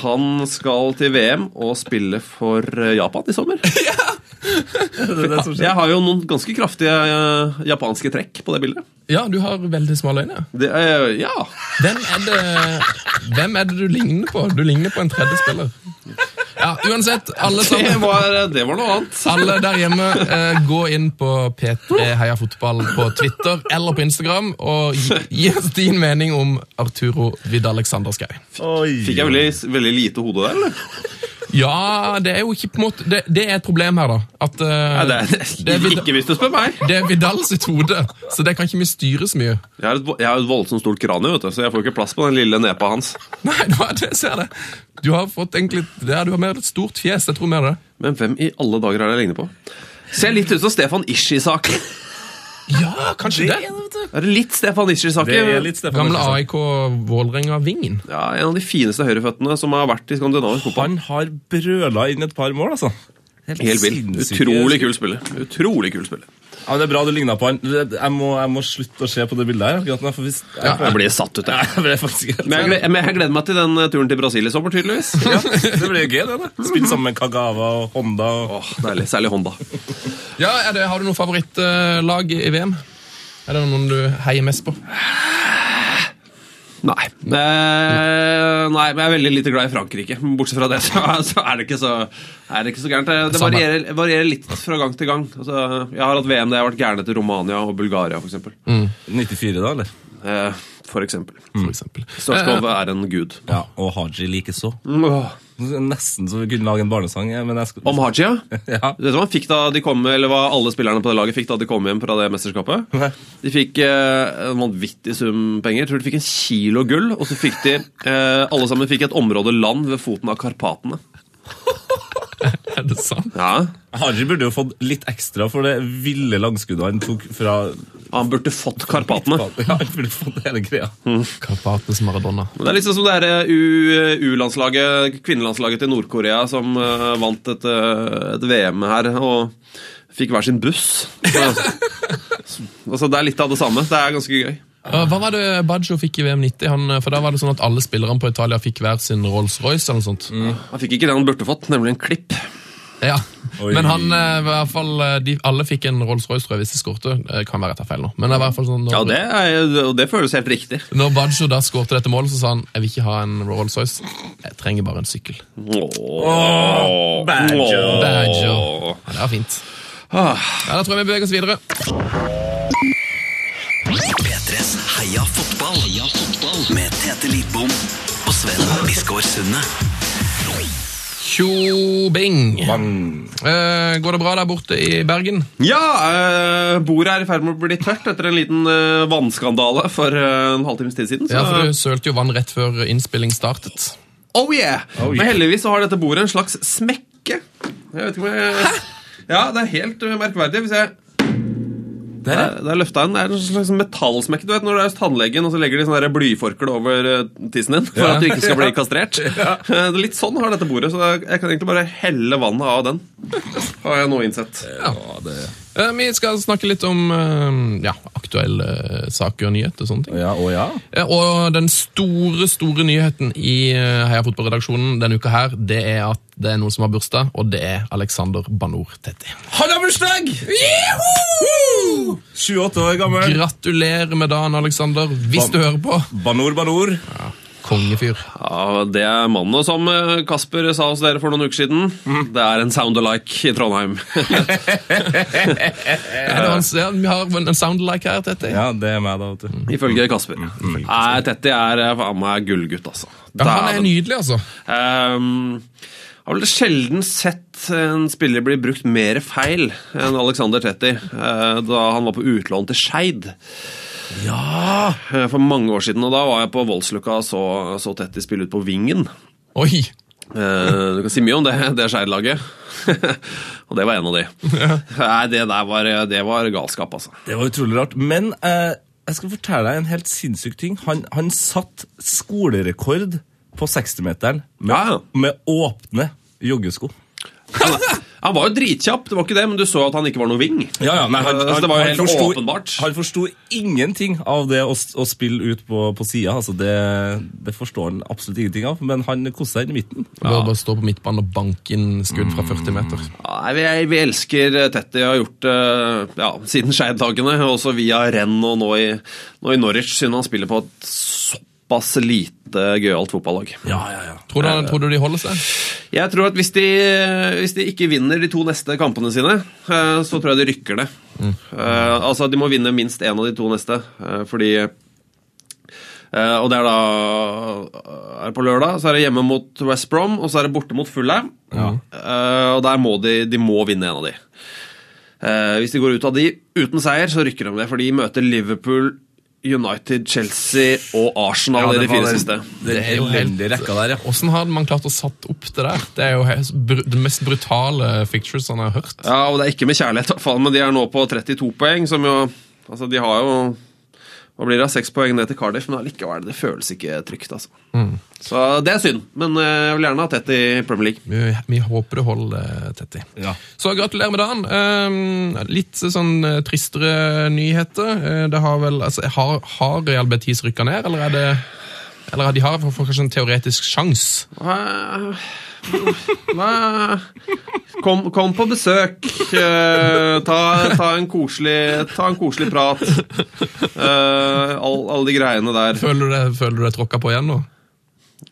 han skal til VM og spille for eh, Japan i sommer. Jeg har jo noen ganske kraftige eh, japanske trekk på det bildet.
Ja, du har veldig smale øyne.
Det, eh, ja.
Hvem er, det, hvem er det du ligner på? Du ligner på en tredje spiller. Ja, Uansett, alle
Det
sammen
var, eh, det var noe annet.
alle der hjemme, eh, gå inn på P3 Heia Fotball på Twitter eller på Instagram og gi, gi oss din mening om Arturo Vidal Alexander Skau.
Fikk jeg veldig, veldig lite hode der, eller?
Ja, det er jo ikke på en måte Det, det er et problem her, da. At eh,
Nei, det,
det er Vidal-
ikke hvis du spør meg.
det er Vidal sitt hode, så det kan ikke vi styre så mye.
Jeg har et, vo- jeg har et voldsomt stort kranie, vet du, så jeg får jo ikke plass på den lille nepa hans.
Nei, det var det, ser jeg det. Du har fått egentlig ja, du har mer et stort fjes. Jeg tror mer det.
Men hvem i alle dager er det jeg ligner på? Ser litt ut som Stefan Ishi-sak.
Ja, kanskje det.
Er det litt Stefan Ishi-sak?
Det er litt Stefan
Gamle
Olsen.
AIK Vålerenga-vingen.
Ja, en av de fineste høyreføttene som har vært i skandinavisk fotball.
Han har brøla inn et par mål, altså.
Helt vill.
sinnssyke-
Utrolig kul spiller. Utrolig kul spiller.
Ja, men det er bra du ligna på han. Jeg må, jeg må slutte å se på det bildet her. akkurat nå, for hvis...
Ja, jeg blir satt ut, jeg.
Jeg ble faktisk helt...
Men jeg, gleder, men jeg gleder meg til den eh, turen til Brasil i sommer, tydeligvis.
Ja, det blir jo gøy, det. da. Spille sammen med Kagawa og Honda. Og...
Åh, deilig. Særlig Honda.
Ja, er det, Har du noe favorittlag i VM? Er det noen du heier mest på?
Nei. Eh, nei, men jeg er veldig lite glad i Frankrike. Men Bortsett fra det, så, så er det ikke så, er det ikke så gærent. Det, det
Samme.
varierer, varierer litt fra gang til gang. Altså, jeg har hatt VM der jeg har vært gæren etter Romania og Bulgaria, for eksempel.
94, da, eller?
Eh, for eksempel.
For eksempel.
Storskov er en gud.
Ja, Og Haji likeså.
Åh.
Nesten så vi kunne lage en barnesang. jeg, Men jeg skal...
Om Haji, ja.
Ja.
Vet du hva, han fikk da de kom, eller hva alle spillerne på det laget fikk da de kom hjem fra det mesterskapet?
Nei.
De fikk eh, en vanvittig sum penger. Jeg tror de fikk en kilo gull, og så fikk de eh, alle sammen fikk et område land ved foten av Karpatene.
Er det sant?
Ja,
Harry burde jo fått litt ekstra for det ville langskuddet han tok fra
Han burde fått Karpatene.
Ja, han burde fått hele greia.
Karpates Maradona.
Men Det er litt sånn som det her, eh, U- U-landslaget, kvinnelandslaget til Nord-Korea, som eh, vant et, eh, et VM her og fikk hver sin buss. Så, altså, det er litt av det samme. Det er ganske gøy.
Ja, Hva var det Baggio fikk i VM 90? Han, for da var det sånn at alle spillerne på Italia fikk hver sin Rolls-Royce eller noe sånt.
Han fikk ikke det han burde fått, nemlig en klipp.
Ja,
Oi.
Men han, eh, i hvert fall, eh, de, alle fikk en Rolls-Royce tror jeg, hvis de skårte. Det kan være etter feil nå. Men det er i hvert fall sånn, når,
Ja, det, er, og det føles helt riktig.
når Baggio da skårte dette målet, så sa han jeg vil ikke ha en Rolls-Royce. Jeg trenger bare en sykkel.
Åh,
Baggio.
Baggio. Ja, det var fint. Ja, Da tror jeg vi beveger oss videre.
P3s Heia fotball. Heia fotball. Med Tete Lidbom og Sven Biskår Sunde.
Tjo bing! Eh, går det bra der borte i Bergen?
Ja, eh, bordet er i ferd med å bli tørt etter en liten eh, vannskandale for eh, en halvtimes tid siden. så-
Ja, for du sølte jo vann rett før innspilling startet.
Oh yeah! Men heldigvis så har dette bordet en slags smekke. Jeg vet ikke om jeg... Ja, det er helt uh, merkverdig. Hvis jeg... Det er, det er løfta en, det er en slags metallsmekke. Du vet når du er hos tannlegen, og så legger de sånn der blyforkle over eh, tissen din for at du ikke skal bli kastrert. Eh, det er Litt sånn har dette bordet, så jeg kan egentlig bare helle vannet av den. Har jeg nå innsett.
Eh, vi skal snakke litt om eh, ja, aktuelle eh, saker og nyheter og sånne ting.
Ja, å ja.
Eh, Og den store, store nyheten i eh, Heia fotballredaksjonen denne uka her, det er at det er noen som har bursdag, og det er Alexander Banor Tetti.
Han har bursdag! 28 år gammel.
Gratulerer med dagen, Alexander, hvis
Ban-
du hører på.
Banor, banor.
Kongefyr.
Ja, Det er mannen som eh, Kasper sa hos dere for noen uker siden. Det er en sound alike i Trondheim.
Er det hans, ja, vi har en soundlike her, Tetti.
Ja, det er meg, da. vet du.
Ifølge Kasper. Nei, Tetty er eh, faen meg gullgutt, altså.
Ja, han er
Dæven.
nydelig, altså.
Ehm, har vel sjelden sett en spiller bli brukt mer feil enn Alexander Tetti eh, da han var på utlån til Skeid. Ja! For mange år siden, og da var jeg på Voldsløkka og så, så Tetti spille ut på vingen.
Oi!
Eh, du kan si mye om det, det Skeid-laget. og det var en av de. Nei, det der var, det var galskap, altså.
Det var utrolig rart. Men eh, jeg skal fortelle deg en helt sinnssyk ting. Han, han satt skolerekord på 60-meteren med,
Ja, ja.
med åpne joggesko.
Han var jo dritkjapp, det var ikke det, men du så at han ikke var noe ving.
Ja, ja, nei, han,
Så
han,
det var jo
han,
helt
forsto,
åpenbart.
han forsto ingenting av det å, s- å spille ut på, på sida. Altså det, det forstår han absolutt ingenting av, men han koser seg i midten.
Bør bare stå på midtbanen og banke inn skudd fra 40 meter.
Nei, vi, vi elsker Tetty og har gjort det ja, siden Skeid-dagene, også via renn og nå i, nå i Norwich, siden han spiller på et såpass lite gøyalt fotballag.
Ja, ja, ja.
Tror du, tror du de holder seg?
Jeg tror at hvis de, hvis de ikke vinner de to neste kampene sine, eh, så tror jeg de rykker det. Eh, altså, de må vinne minst én av de to neste, eh, fordi eh, Og det er da eh, er det På lørdag så er det hjemme mot West Brom, og så er det borte mot Fulham. Eh, og der må de, de må vinne en av de. Eh, hvis de går ut av de uten seier, så rykker de det, for de møter Liverpool, United, Chelsea og Arsenal i de fire siste.
Det er jo helt rekka der, ja.
Hvordan har man klart å satt opp det der? Det er jo he- br- det mest brutale fictures han har hørt.
Ja, og det er ikke med kjærlighet, i hvert fall, men de er nå på 32 poeng, som jo Altså, de har jo Hva blir det? Seks poeng ned til Cardiff, men allikevel, det føles ikke trygt, altså. Så det er synd, men eh, jeg vil gjerne ha tett i Premier League.
Vi, vi håper det holder tett i.
Ja.
Så gratulerer med dagen. Ehm, litt sånn eh, tristere nyheter. Eh, det har vel altså, Har, har Real Betis rykka ned, eller er det eller har de har for, for kanskje en teoretisk sjanse.
Hva- hva- Kom, kom på besøk. eh, Ta, ta, en koselig, ta en koselig prat. Eh, all- Alle de greiene der.
Føler du deg- føler du deg tråkka på igjen nå?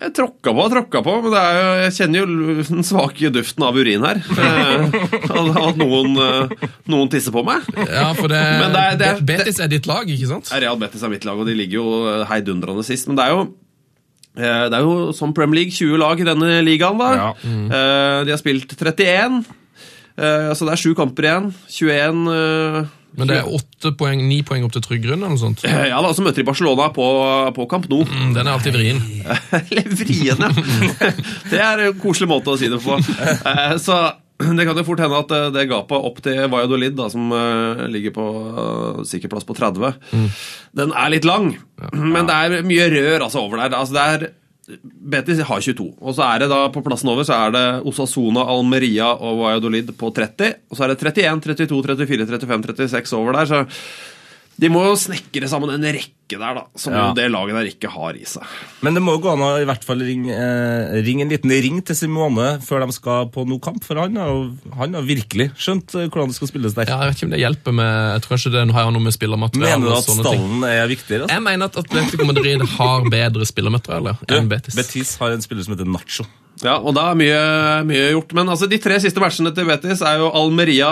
Jeg tråkka på og tråkka på, men det er jo, jeg kjenner jo den svake duften av urin her. Eh, At at noen, eh, noen tisser på meg.
Ja, for det,
Men det er- det er-
Be- Betis er ditt lag, ikke sant?
Real Betis er mitt lag, og de ligger jo eh, heidundrende sist. Men det er jo eh, det er jo som Premier League, 20 lag i denne ligaen. da.
Ja.
Eh, De har spilt 31, eh, så det er sju kamper igjen. 21 eh,
Men det er åtte poeng, ni poeng opp til trygg grunn, eller noe sånt. Mm,
Ja da, så møter de Barcelona på, på Camp Nou.
Den er alltid vrien.
Levrien, ja. Det er en koselig måte å si det på. Eh, Så det kan jo fort hende at eh, det gapet opp til Valladolid, da, som eh, ligger på eh, sikker plass på 30, den er litt lang. Men det er mye rør altså, over der. Altså, det er Betis har 22, og så er det da på plassen over så er det Osasona, Almeria og Valladolid på 30. Og så er det 31, 32, 34, 35, 36 over der. Så de må jo snekre sammen en rekke der, da, som
Ja.
jo det laget der ikke har i seg.
Men det må jo gå an å i hvert fall ringe, eh, ringe en liten ring til Simone før de skal på noe kamp, for han har, jo- han har virkelig skjønt eh, hvordan det skal spilles der.
Ja, jeg vet ikke om det hjelper med Jeg tror kanskje det nå har jeg noe med spillermateriale
Mener du
og
at
sånne ting.
stallen er viktigere? altså?
Jeg mener at Atletico Madrid har bedre spillermateriale enn Betis.
Betis har en spiller som heter Nacho.
Ja, og da er mye, mye gjort. Men altså, de tre siste matchene til Betis er jo Almeria,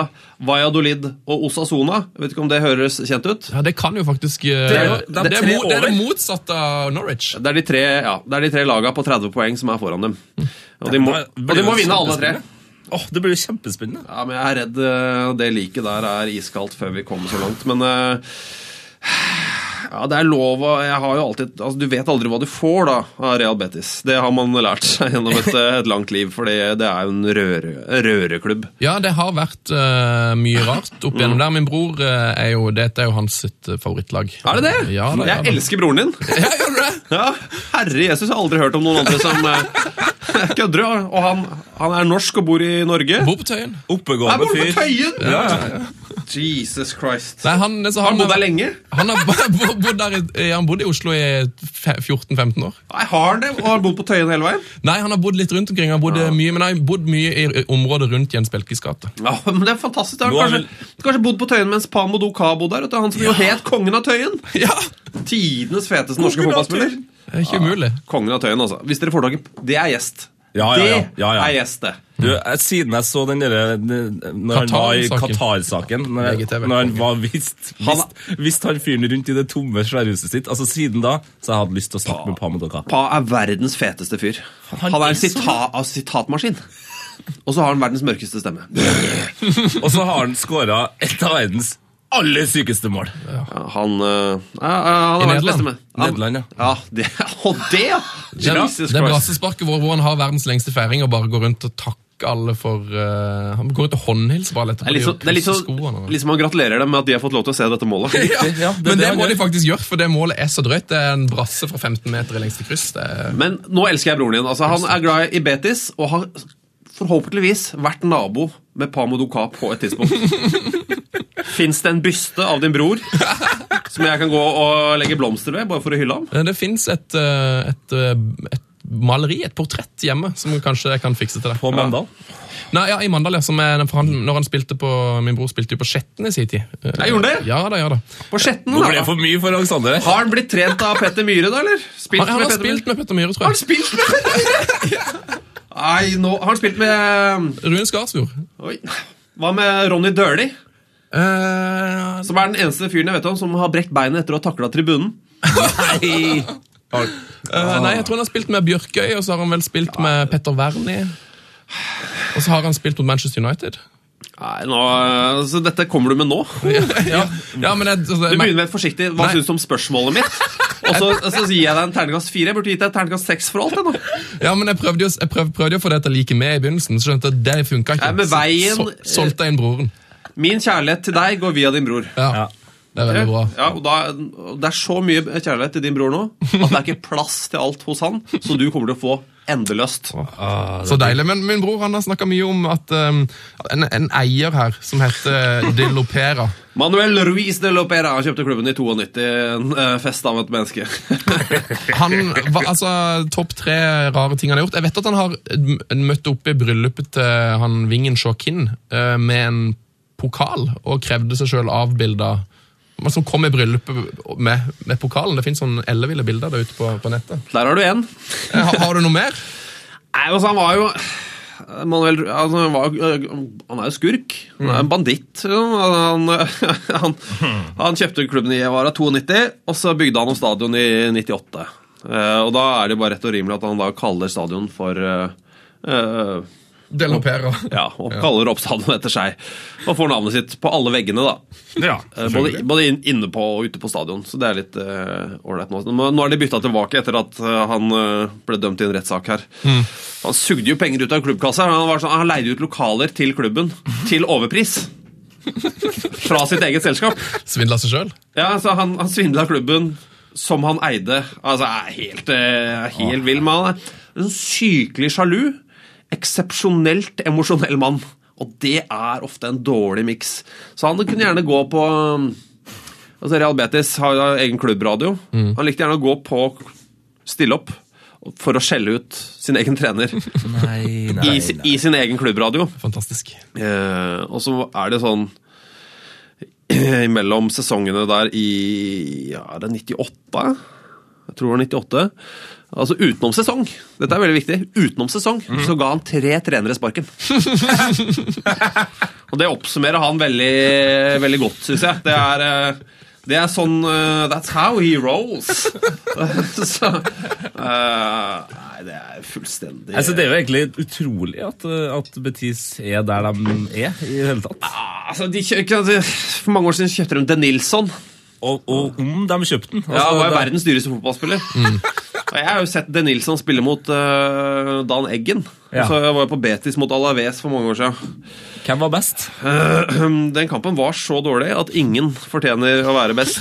Valladolid og Osasona. Jeg vet ikke om det høres kjent ut?
Ja, Det kan jo faktisk eh, Det
er jo-
det-
de
det er
tre
mo- det er
over.
det motsatte av Norwich.
Det er de tre, ja, det er de tre laga på 30 poeng som er foran dem. Og de må, og de må vinne alle tre.
Åh, Det blir jo kjempespennende.
Ja, men Jeg er redd eh, det liket der er iskaldt før vi kommer så langt. Men eh, ja, det er lov å jeg har jo alltid, altså, Du vet aldri hva du får da av Real Betis. Det har man lært seg gjennom et, eh, et langt liv, for det det er jo en røre- røreklubb.
Ja, det har vært eh, mye rart opp igjennom der. Min bror eh, er jo Dette er jo hans sitt eh, favorittlag.
Er det det?
Ja, det er
jeg
det.
elsker broren din.
Ja, gjør du det?
Ja, Herre Jesus, jeg har aldri hørt om noen andre som eh, kødder. ja. Og han, han er norsk og bor i Norge.
Bor på Tøyen.
Her
Oppegående
bor du på
fyr.
Tøyen! Jesus Christ.
Nei, han, så
Har han bodd
bodde-
der lenge?
Han har bo- bo- bodd der, i- han bodde i Oslo i fe- 14-15 år.
Nei, har han det? Og har bodd på Tøyen hele veien?
Nei, han har bodd litt rundt omkring. Han bodde mye, men han har bodd mye i i området rundt Jens Belkes gate.
Ja, men Det er fantastisk. Han
Nå
har
er
kanskje, kanskje bodd på Tøyen mens Pamo Doka bodde der. vet du, Han som jo het kongen av Tøyen.
Ja!
Tidenes feteste norske fotballspiller.
Det er ikke umulig.
Kongen av Tøyen, altså. Hvis dere får tak i Det er gjest.
Ja, ja, ja. ja,
Det
ja.
er gjest, det.
Du, jeg- siden jeg så den der Når han var i
Qatar-saken.
Qatar-saken Når, jeg-
VGTV.
når han var visst
Han-
Visst, visst han fyren rundt i det tomme sværhuset sitt Altså siden da Så jeg hadde lyst til å snakke med Pamadokka
Pa er verdens feteste fyr. Han, er en sita av sitatmaskin. Og så har han verdens mørkeste stemme.
Og så har han skåret et av verdens aller sykeste mål
Ja, han øh, ja, ja, han
I
er verdens
Nederland.
beste med. Han-
Nederland, ja.
ja det, og det, ja!
Det er,
Jesus
det er
Christ.
brassesparket vår hvor han har verdens lengste feiring og bare går rundt og takker alle for eh, Han går rundt og håndhilser bare litt.
Det er litt sånn- det er litt sånn- litt som han gratulerer dem med at de har fått lov til å se dette målet.
ja,
ja, det er
men
det
det
han
må
gjør.
de faktisk gjøre, for det målet er så drøyt. Det er en brasse fra 15 meter i lengste kryss. Det er,
Men nå elsker jeg broren din. Altså, han er glad i Betis og har forhåpentligvis vært nabo med Pamo Doka på et tidspunkt. Fins det en byste av din bror som jeg kan gå og legge blomster ved, bare for å hylle ham?
det fins et, eh, et, eh, et maleri, et portrett hjemme, som kanskje jeg kan fikse til deg.
På Mandal
Nei, ja, I Mandal, ja. Som er, for han, når han spilte på, min bror spilte jo på Skjetten i sin tid.
Jeg gjorde det?
Ja, da, ja, da.
På Skjetten,
Nå ble det
da.
for mye for Alexander
Har han blitt trent av Petter Myhre, da, eller? Spilt
Han, han har
Petter Myhre?
spilt med Petter Myhre, tror
Har han
jeg.
spilt med Nei, nå Har han spilt med
Rune Skarsfjord.
Oi. Hva med Ronny Døhli?
Eh,
Som er den eneste fyren jeg vet om som har brekt beinet etter å ha takla tribunen. Nei. Ah.
eh, nei, jeg tror han har spilt med Bjørkøy, og så har han vel spilt med Petter Wernie. Og så har han spilt mot Manchester United.
nå, så dette kommer du med nå?
Ja, ja men jeg, altså,
Du
men-
begynner med et forsiktig Hva
Nei.
syns du om spørsmålet mitt? Og så, så gir jeg deg en terningkast fire. Jeg burde gitt deg en terningkast seks for alt. Jeg, nå.
Ja, men jeg prøvde jo, jeg prøv, prøvde jo å få det til å like med i begynnelsen, så skjønte jeg at det funka ikke.
Ja, men
Så-
veien-
så, solgte jeg inn broren.
Min kjærlighet til deg går via din bror.
Ja, Det er veldig bra.
Ja, og da, det er så mye kjærlighet til din bror nå at det er ikke plass til alt hos han, så du kommer til å få endeløst.
Så deilig. Men min bror han har snakka mye om at um, en, en eier her som heter eh, De Lopera
Manuel Ruiz de Lopera han kjøpte klubben i 92. En eh, fest av et menneske.
Han var altså topp tre rare ting han har gjort. Jeg vet at han har m- møtt opp i bryllupet til han Vingen Shokin eh, med en pokal og krevde seg sjøl avbilda. Man som kom i bryllupet med, med pokalen. Det fins sånn elleville bilder der ute på, på nettet.
Der har du en.
Eh, Har, har du noe mer?
Nei, altså, han var jo Manuel, altså, han, var, jo- han er jo skurk. Han er en banditt. jo. Han, eh, han, han kjøpte klubben i Evara 92, og så bygde han om stadion i 98. Eh, og da er det jo bare rett og rimelig at han da kaller stadion for eh, eh,
Delopera.
Ja, og kaller Ropstad etter seg. Og får navnet sitt på alle veggene, da.
Ja,
Eh, Både, både inn- inne på og ute på stadion, så det er litt eh, ålreit nå. nå. Nå er de bytta tilbake etter at eh, han eh, ble dømt i en rettssak her. Han sugde jo penger ut av klubbkassa. Han, var sånn, han leide ut lokaler til klubben til overpris. Fra sitt eget selskap.
Svindla seg sjøl.
Ja, så Han, han svindla klubben som han eide. Altså, jeg er helt, eh,
Ah.
helt vill med han. jeg. En sykelig sjalu, eksepsjonelt emosjonell mann. Og det er ofte en dårlig miks. Så han kunne gjerne gå på um, Altså Real Betis har jo egen klubbradio.
Mm.
Han likte gjerne å gå på Stille opp for å skjelle ut sin egen trener
Nei, nei,
i, si- i sin egen klubbradio.
Fantastisk.
Eh, og så er det sånn Imellom sesongene der i ja, er det 98? Jeg tror det var 98. Altså utenom sesong. Dette er veldig viktig. Utenom sesong
Mhm.
så ga han tre trenere sparken. og det oppsummerer han veldig, veldig godt, syns jeg. Det er eh, det er sånn eh, That's how he rolls. så, eh, nei, det er fullstendig
Altså, det er jo egentlig utrolig at, eh, at Betis er der de er, i det hele tatt.
Altså, de kjø- ikke sant, For mange år siden kjøpte de Denilson.
Og, og om de kjøpte den. Altså, Mm.
Ja, han var jo
det-
verdens dyreste fotballspiller. Og Jeg har jo sett Denilson spille mot øh, Dan Eggen.
Ja.
Så jeg var jo på Betis mot Alaves for mange år siden. Eh,
Hvem var best?
Den kampen var så dårlig at ingen fortjener å være best.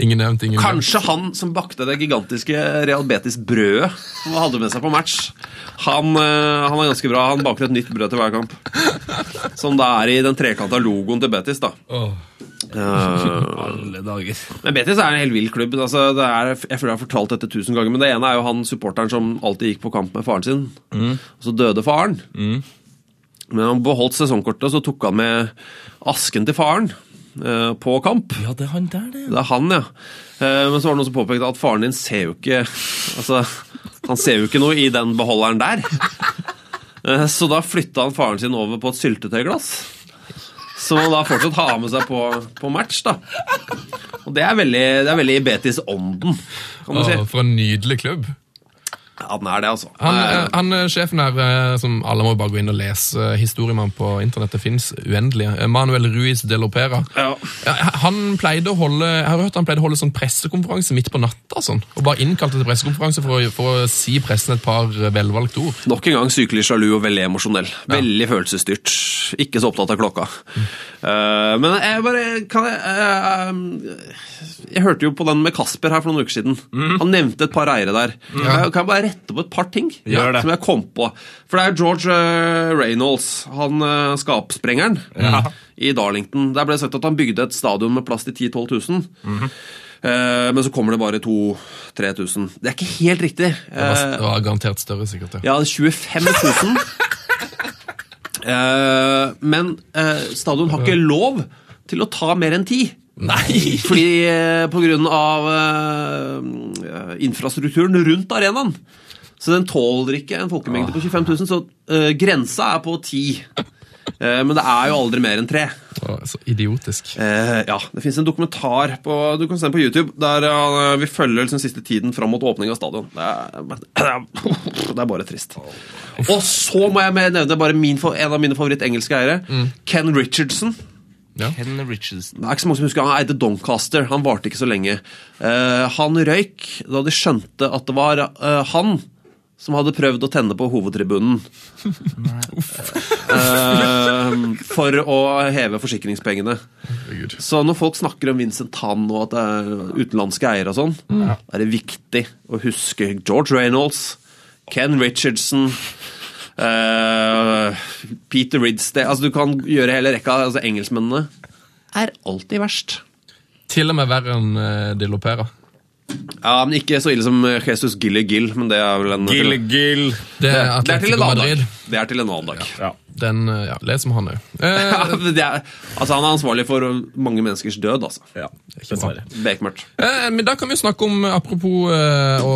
Ingen nevnt, ingen nevnt.
Kanskje han som bakte det gigantiske Real Betis-brødet som han hadde med seg på match. Han, øh, han er ganske bra. Han baker et nytt brød til hver kamp. Som det er i den trekanta logoen til Betis, da.
Åh.
Eh,
Alle dager.
Men Betis er en helt vill klubb. Altså, det er, jeg føler jeg har fortalt dette tusen ganger, men det ene er jo han supporteren som alltid gikk på kamp med faren sin. Og så døde faren. Men han beholdt sesongkortet, og så tok han med asken til faren eh, på kamp.
Ja, det er han der, det.
Det er han, ja. Eh, men så var det noen som påpekte at faren din ser jo ikke Altså, han ser jo ikke noe i den beholderen der. Eh, så da flytta han faren sin over på et syltetøyglass. Som han da fortsatt har med seg på, på match, da. Og det er veldig, det er veldig i Betis-ånden, kan du si.
Åh, for en nydelig klubb.
Ja, den er det, altså.
Han,
Eh,
eh, han eh, sjefen her, eh, som alle må bare gå inn og lese eh, historien om på internett, det fins uendelige. eh, Manuel Ruiz de Lopera.
Ja.
Ja, han pleide å holde, jeg har hørt han pleide å holde sånn pressekonferanse midt på natta, sånn. Og bare innkalte til pressekonferanse for å, for å si pressen et par eh, velvalgte ord.
Nok en gang sykelig sjalu og veldig emosjonell. Veldig følelsesstyrt. Ikke så opptatt av klokka. Eh, men jeg bare kan jeg, eh, jeg hørte jo på den med Kasper her for noen uker siden.
Mm.
Han nevnte et par eiere der. Jeg, kan jeg bare rette på et par ting
Gjør det.
som jeg kom på? For det er George eh, Reynolds, han eh, skapsprengeren mm, i Darlington. Der ble det sagt at han bygde et stadion med plass til 10 000-12 000.
Mhm.
Eh, men så kommer det bare 2000-3000. Det er ikke helt riktig.
Det var,
Eh,
det var garantert større, sikkert. Ja.
ja, 25 000. Eh, men eh, stadion har ikke lov til å ta mer enn ti.
Nei!
Fordi eh, på grunn av eh, infrastrukturen rundt arenaen. Så den tåler ikke en folkemengde på 25 000, så eh, grensa er på ti. Eh, men det er jo aldri mer enn tre.
Det var så idiotisk.
Eh, ja, Det fins en dokumentar på, du kan se den på YouTube der eh, vi følger liksom siste tiden fram mot åpning av stadion. Det er, det er bare trist. Og så må jeg med- nevne bare min, fa- en av mine favorittengelske eiere. Ken Richardson.
Ken Richardson.
Det er ikke så mange som husker Han eide Doncaster. Han varte ikke så lenge. Eh, han røyk da de skjønte at det var eh, han som hadde prøvd å tenne på hovedtribunen. Eh, for å heve forsikringspengene.
Herregud.
Så når folk snakker om Vincent Tan og at det er utenlandske eiere og sånn, er det viktig å huske George Reynolds, Ken Richardson eh, Peter Ridsdale Altså, du kan gjøre hele rekka. Altså, engelskmennene er alltid verst.
Til og med verre enn eh, de Lopera.
Ja, men Ikke så ille som eh, Jesus Gille Gill, men det er vel en
Gil, Gil.
Det er
Det er til
Atletico
en annen
Madrid.
dag. Det er til en annen dag.
Ja.
Den, eh, ja, les om han òg. Eh,
Ja, men det er, altså, han er ansvarlig for mange menneskers død, altså.
ja.
ikke bra.
Dessverre.
Bekmørkt.
Eh, Men da kan vi jo snakke om, eh, apropos eh, å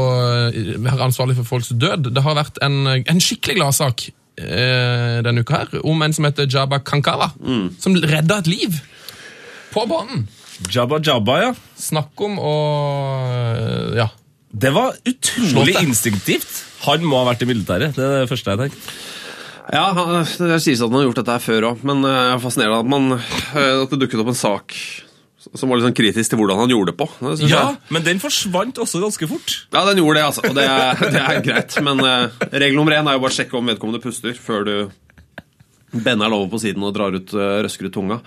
være ansvarlig for folks død, det har vært en, eh, en skikkelig gladsak eh, denne uka her, om en som heter Jabba Kankawa,
Mm.
som redda et liv på banen.
Jabba Jabba, ja.
Snakk om å eh, Ja.
Det var utrolig
Slått, ja.
instinktivt. Han må ha vært i militæret. Det er det første jeg tenkte.
Ja, han- det sies at han har gjort dette her før òg, men eh, det er fascinerende at, man, eh, at det dukket opp en sak som var litt sånn kritisk til hvordan han gjorde det på. Det synes
Ja,
jeg.
men den forsvant også ganske fort.
ja, den gjorde det, altså. Og det er, det er greit. Men eh, regel nummer én er jo bare å sjekke om vedkommende puster før du bender den over på siden og drar ut, eh, røsker ut tunga.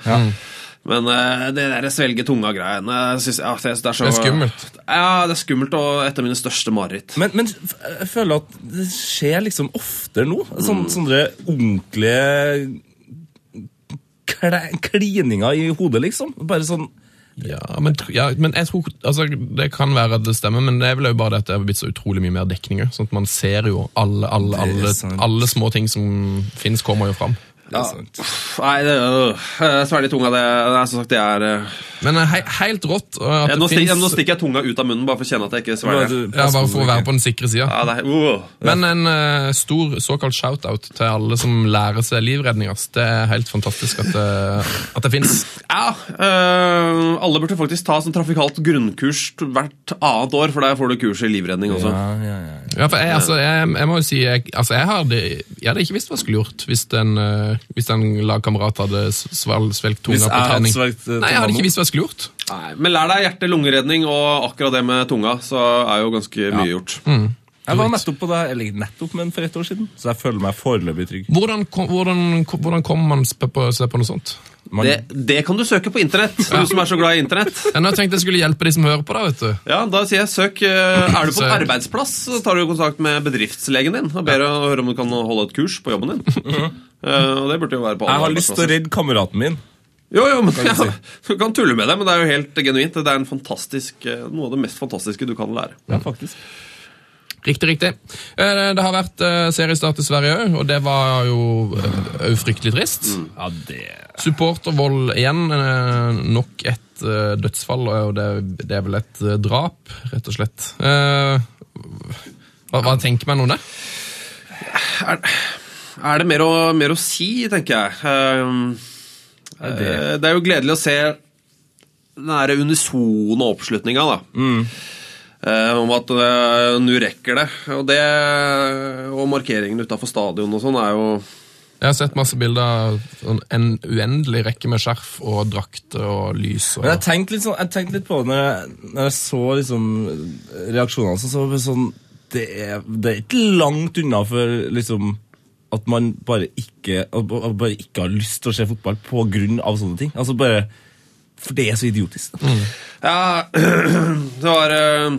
Men eh, det der svelge tunga-greiene eh, synes, jeg- ja, det, det, er så,
Det er skummelt.
Ja, det er skummelt og et av mine største mareritt.
Men, men f- jeg føler at det skjer liksom oftere nå. Sånn, Sånne ordentlige kle- klininger i hodet, liksom. Bare sånn
Ja, men, tr- ja, men jeg tror, altså, Det kan være at det stemmer, men det er vel jo bare det at det er blitt så utrolig mye mer dekning. jo. Sånn at Man ser jo alle, alle,
Det er
alle,
sant.
alle små ting som finnes, kommer jo fram.
ja. sant.
Nei, det, øh, svelge tunga, det, det er som sagt det er eh,
Men eh, hei, helt rått. eh, At
ja, nå,
det
stikk, ja, nå
finnes,
stikker jeg tunga ut av munnen bare for å kjenne at jeg ikke
Bare
svelger.
du-
ja, bare for å være på den sikre sida.
Ja, det er, uh.
Men en eh, stor såkalt shout-out til alle som lærer seg livredning. ass. Det er helt fantastisk at det, at det fins.
ja øh, alle burde faktisk ta sånn trafikalt grunnkurs t- hvert annet år, for der får du kurs i livredning også.
Ja, ja, ja.
Ja, for jeg, altså, jeg, jeg må jo si jeg, altså, jeg, hadde, jeg hadde ikke visst hva jeg skulle gjort hvis en, eh, hvis en lagkamerat hadde s- sval, svelgt tunga
Hvis
på
jeg hadde
trening.
svelgt, eh,
Nei, jeg
tunga
hadde
nå.
ikke visst hva jeg skulle gjort.
Nei, men lær deg hjerte-lungeredning og akkurat det med tunga, så er jo ganske mye gjort.
Mm, Jeg var nettopp på det, eller nettopp, men for ett år siden. Så jeg føler meg foreløpig trygg.
Hvordan, kom- hvordan, kom- hvordan kommer man sp- på, seg på noe sånt?
Man,
Det, det kan du søke på internett, du som er så glad i internett.
Jeg nå tenkte jeg skulle hjelpe de som hører på. da, vet du.
Ja, da sier jeg søk. øh, Er du på en
Så-
arbeidsplass, så tar du kontakt med bedriftslegen din og ber å høre om du kan holde et kurs på jobben din. Eh, og det burde jo være på alle
Mhm. jeg har lyst til å
arbeidsplasser.
redde kameraten min.
Jo, jo, men
du si.
ja, Du kan tulle med det, men det er jo helt genuint. Det er en fantastisk, eh, noe av det mest fantastiske du kan lære.
Ja, faktisk.
Riktig, riktig. Eh, Det det har vært eh, seriestart i Sverige òg, og det var jo eh, òg fryktelig trist.
Ja, det...
Supportervold igjen. eh, Nok et eh, dødsfall, og det, det er vel et eh, drap, rett og slett. Eh, Hva, hva tenker man om det?
Er det mer å, mer å si, tenker jeg. Ehm,
Er det...
eh, det er jo gledelig å se den her unisone oppslutninga, da. Eh, om at eh, nå rekker det. Og, det, og markeringen utafor stadion og sånn er jo
Jeg har sett masse bilder av sånn en uendelig rekke med skjerf og drakter og lys. og...
Men jeg tenkte litt, sånn, jeg tenkte litt på det når jeg, når jeg så liksom reaksjonene hans. Så var det sånn, det, er, det er ikke langt unna for liksom, at man bare ikke, at man bare ikke har lyst til å se fotball på grunn av sånne ting. Altså bare, For det er så idiotisk. da.
Ja, det var eh,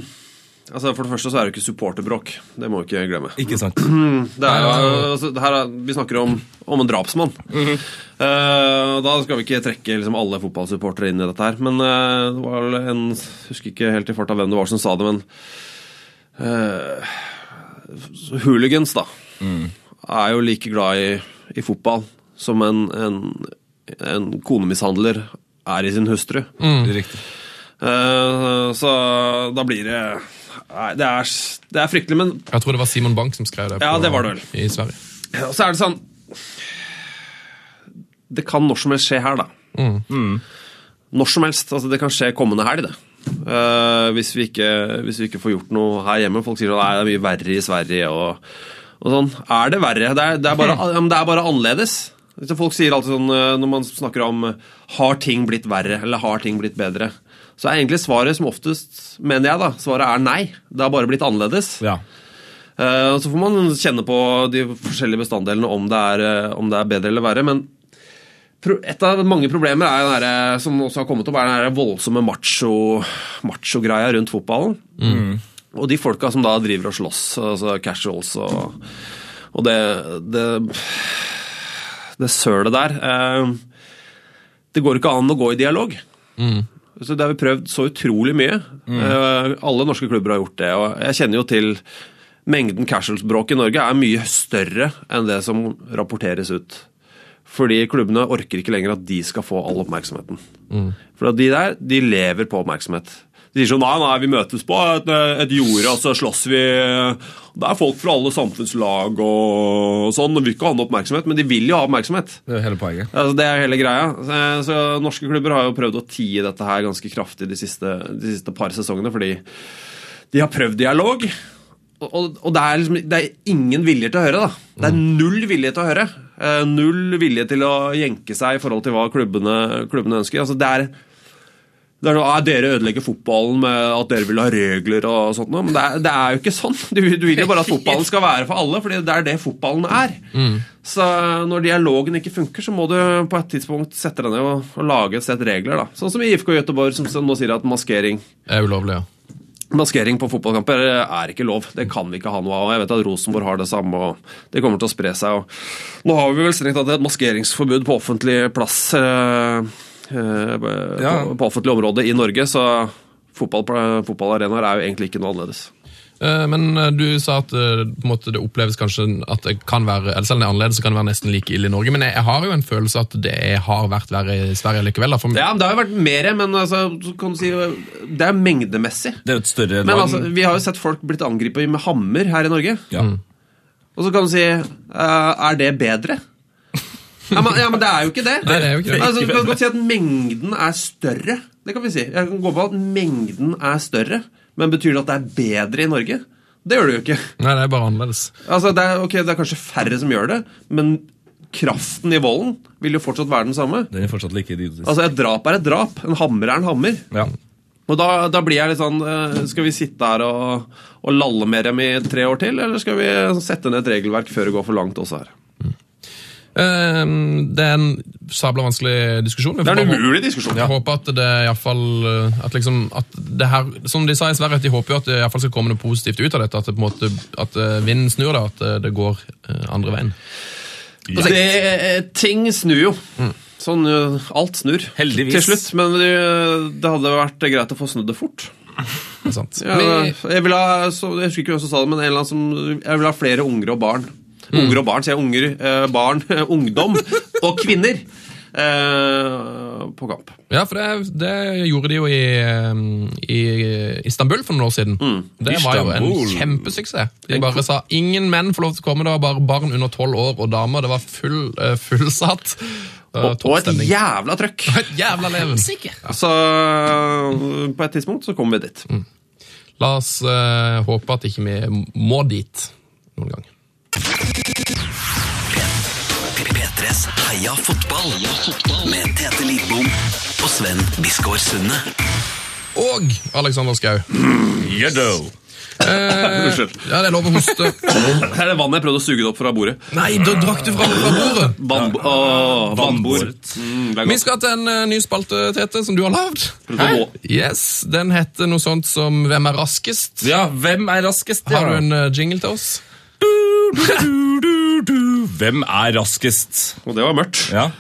Altså, For det første så er det jo ikke supporterbråk. Det må vi ikke glemme.
Ikke sant?
Det er, jo- altså, det her er, vi snakker om, om en drapsmann. Eh, og da skal vi ikke trekke liksom, alle fotballsupportere inn i dette her. Men eh, det var vel en jeg Husker ikke helt i farta hvem det var som sa det, men eh, Hooligans, da, er jo like glad i, i fotball som en, en, en konemishandler er i sin hustru.
Riktig.
Eh, så da blir det Nei, det er, s- det er fryktelig, men
Jeg tror det var Simon Bank som skrev det.
Ja, det var det vel.
I Sverige.
Ja, Og så er det sånn Det kan når som helst skje her, da.
Mm.
Når som helst. altså Det kan skje kommende helg, det. Eh, hvis, vi ikke, hvis vi ikke får gjort noe her hjemme. Folk sier at det er mye verre i Sverige. og, og sånn. Er det verre? Det er, det er, bare, ja, men det er bare annerledes. Så folk sier alltid sånn eh, når man snakker om eh, har ting blitt verre eller har ting blitt bedre, så er egentlig svaret som oftest, mener jeg, da, svaret er nei. Det har bare blitt annerledes.
Ja.
Eh, og Så får man kjenne på de forskjellige bestanddelene om det er, eh, om det er bedre eller verre. Men pro- et av mange problemer er den der, eh, som også har kommet opp, er den der voldsomme macho- macho-greia rundt fotballen. Og de folka som da driver og slåss, altså casuals og, og det, det Det sølet der. eh, Det går ikke an å gå i dialog. Så Det har vi prøvd så utrolig mye. Eh, alle norske klubber har gjort det. og Jeg kjenner jo til mengden casuals-bråk i Norge er mye større enn det som rapporteres ut. Fordi klubbene orker ikke lenger at de skal få all oppmerksomheten. For at de der, de lever på oppmerksomhet. De sier sånn nei, nei, vi møtes på et, et jorde, og så slåss vi. Det er folk fra alle samfunnslag og sånn. og Vi vil ikke ha noe oppmerksomhet, men de vil jo ha oppmerksomhet.
Det er hele poenget.
Altså, det er hele greia. Eh, Så Norske klubber har jo prøvd å tie dette her ganske kraftig de siste, de siste par sesongene, fordi de har prøvd dialog, og, og det, er liksom, det er ingen vilje til å høre, da. Det er null vilje til å høre. Eh, Null vilje til å jenke seg i forhold til hva klubbene, klubbene ønsker. Altså, det er, det er noe, «Ah, Dere ødelegger fotballen med at dere vil ha regler og sånt noe. Men det er, det er jo ikke sånn. Du, du vil jo bare at fotballen skal være for alle, fordi det er det fotballen er. Så når dialogen ikke funker, så må du på et tidspunkt sette deg ned og, og lage et sett regler. da. Sånn som i IFK Göteborg, som, som nå sier at maskering
Det er ulovlig, ja.
Maskering på fotballkamper er ikke lov. Det kan vi ikke ha noe av. og Jeg vet at Rosenborg har det samme, og det kommer til å spre seg. Og nå har vi vel strengt tatt et maskeringsforbud på offentlig plass eh, eh, på,
Ja.
på offentlig område i Norge, så fotball, fotballarenaer er jo egentlig ikke noe annerledes.
Eh, Men eh, du sa at eh, på en måte, det oppleves kanskje at det kan være eller selv om det er annerledes, så kan det være nesten like ille i Norge. Men jeg, jeg har jo en følelse at det har vært verre i Sverige likevel. Da, for,
Ja, det har jo vært mer, men altså, så kan du si, det er mengdemessig.
Det er jo et større
Men
land.
altså, vi har jo sett folk blitt angrepet med hammer her i Norge.
ja.
Og så kan du si eh, Er det bedre? Ja men, ja, men det er jo ikke det.
Nei, det er jo ikke det.
Altså, du kan godt si at mengden er større. Det kan vi si. Jeg kan gå på at mengden er større, men betyr det at det er bedre i Norge? Det gjør det jo ikke.
Nei, det er bare annerledes.
Altså, det er, ok, det er kanskje færre som gjør det, men kraften i volden vil jo fortsatt være den samme.
Den er fortsatt like idiotisk.
Altså, Et drap er et drap. En hammer er en hammer.
ja.
Og da, da blir jeg litt sånn eh, Skal vi sitte her og, og lalle med dem i tre år til, eller skal vi sette ned et regelverk før det går for langt også her?
Eh, Det er en sabla vanskelig diskusjon. Vi
Det
får
er en
bare håpe-
umulig diskusjon.
Jeg håper at det i hvert fall, eh, at liksom, at det her, Som de sa i Sverige, at de håper jo at det i hvert fall skal komme noe positivt ut av dette. At, det på en måte, at eh, vinden snur, da, at eh, det går eh, andre veien.
Altså, det, eh, ting snur jo. Sånn, eh, alt snur.
Heldigvis.
Til slutt, men det, det hadde vært greit å få snudd det fort.
Det er sant.
Ja,
Vi-
jeg, vil ha, så, jeg husker ikke hvem som sa det, men en eller annen som, jeg vil ha flere unger og barn. Unger og barn, sier jeg. Unger, eh, barn, ungdom og kvinner eh, på kamp.
Ja, for det, det gjorde de jo i, um, i Istanbul for noen år siden.
Mm.
Det var jo en
Istanbul.
kjempesuksess. De bare sa ingen menn får lov til å komme, det var bare barn under tolv år og damer. Det var full, eh, fullsatt. Det var
Og, og et
toppstemning.
jævla trøkk!
Et jævla leven!
Så eh, på et tidspunkt så kommer vi dit.
La oss eh, håpe at ikke vi må dit noen gang.
P3s Heia fotball. Heia fotball med Tete Lidbom og Sven Biskår Sunde.
Og Alexander Skau.
Jøddo.
Eh. Unnskyld.
Ja, det er lov å hoste.
Det er det vannet jeg prøvde å suge det opp fra bordet.
Nei, da drakk du fra, fra bordet!
Vannbo Åh, vannbord.
Vannbord.
Mm, det er
Vi
godt.
skal til en eh, ny spalte, Tete, som du har lagd.
Hæ?
Yes, Den heter noe sånt som Hvem er raskest?
Ja, hvem er raskest?
Har du
ja?
en eh, jingle til oss?
Du, du, du. Hvem er raskest?
Og det var mørkt.
Ja,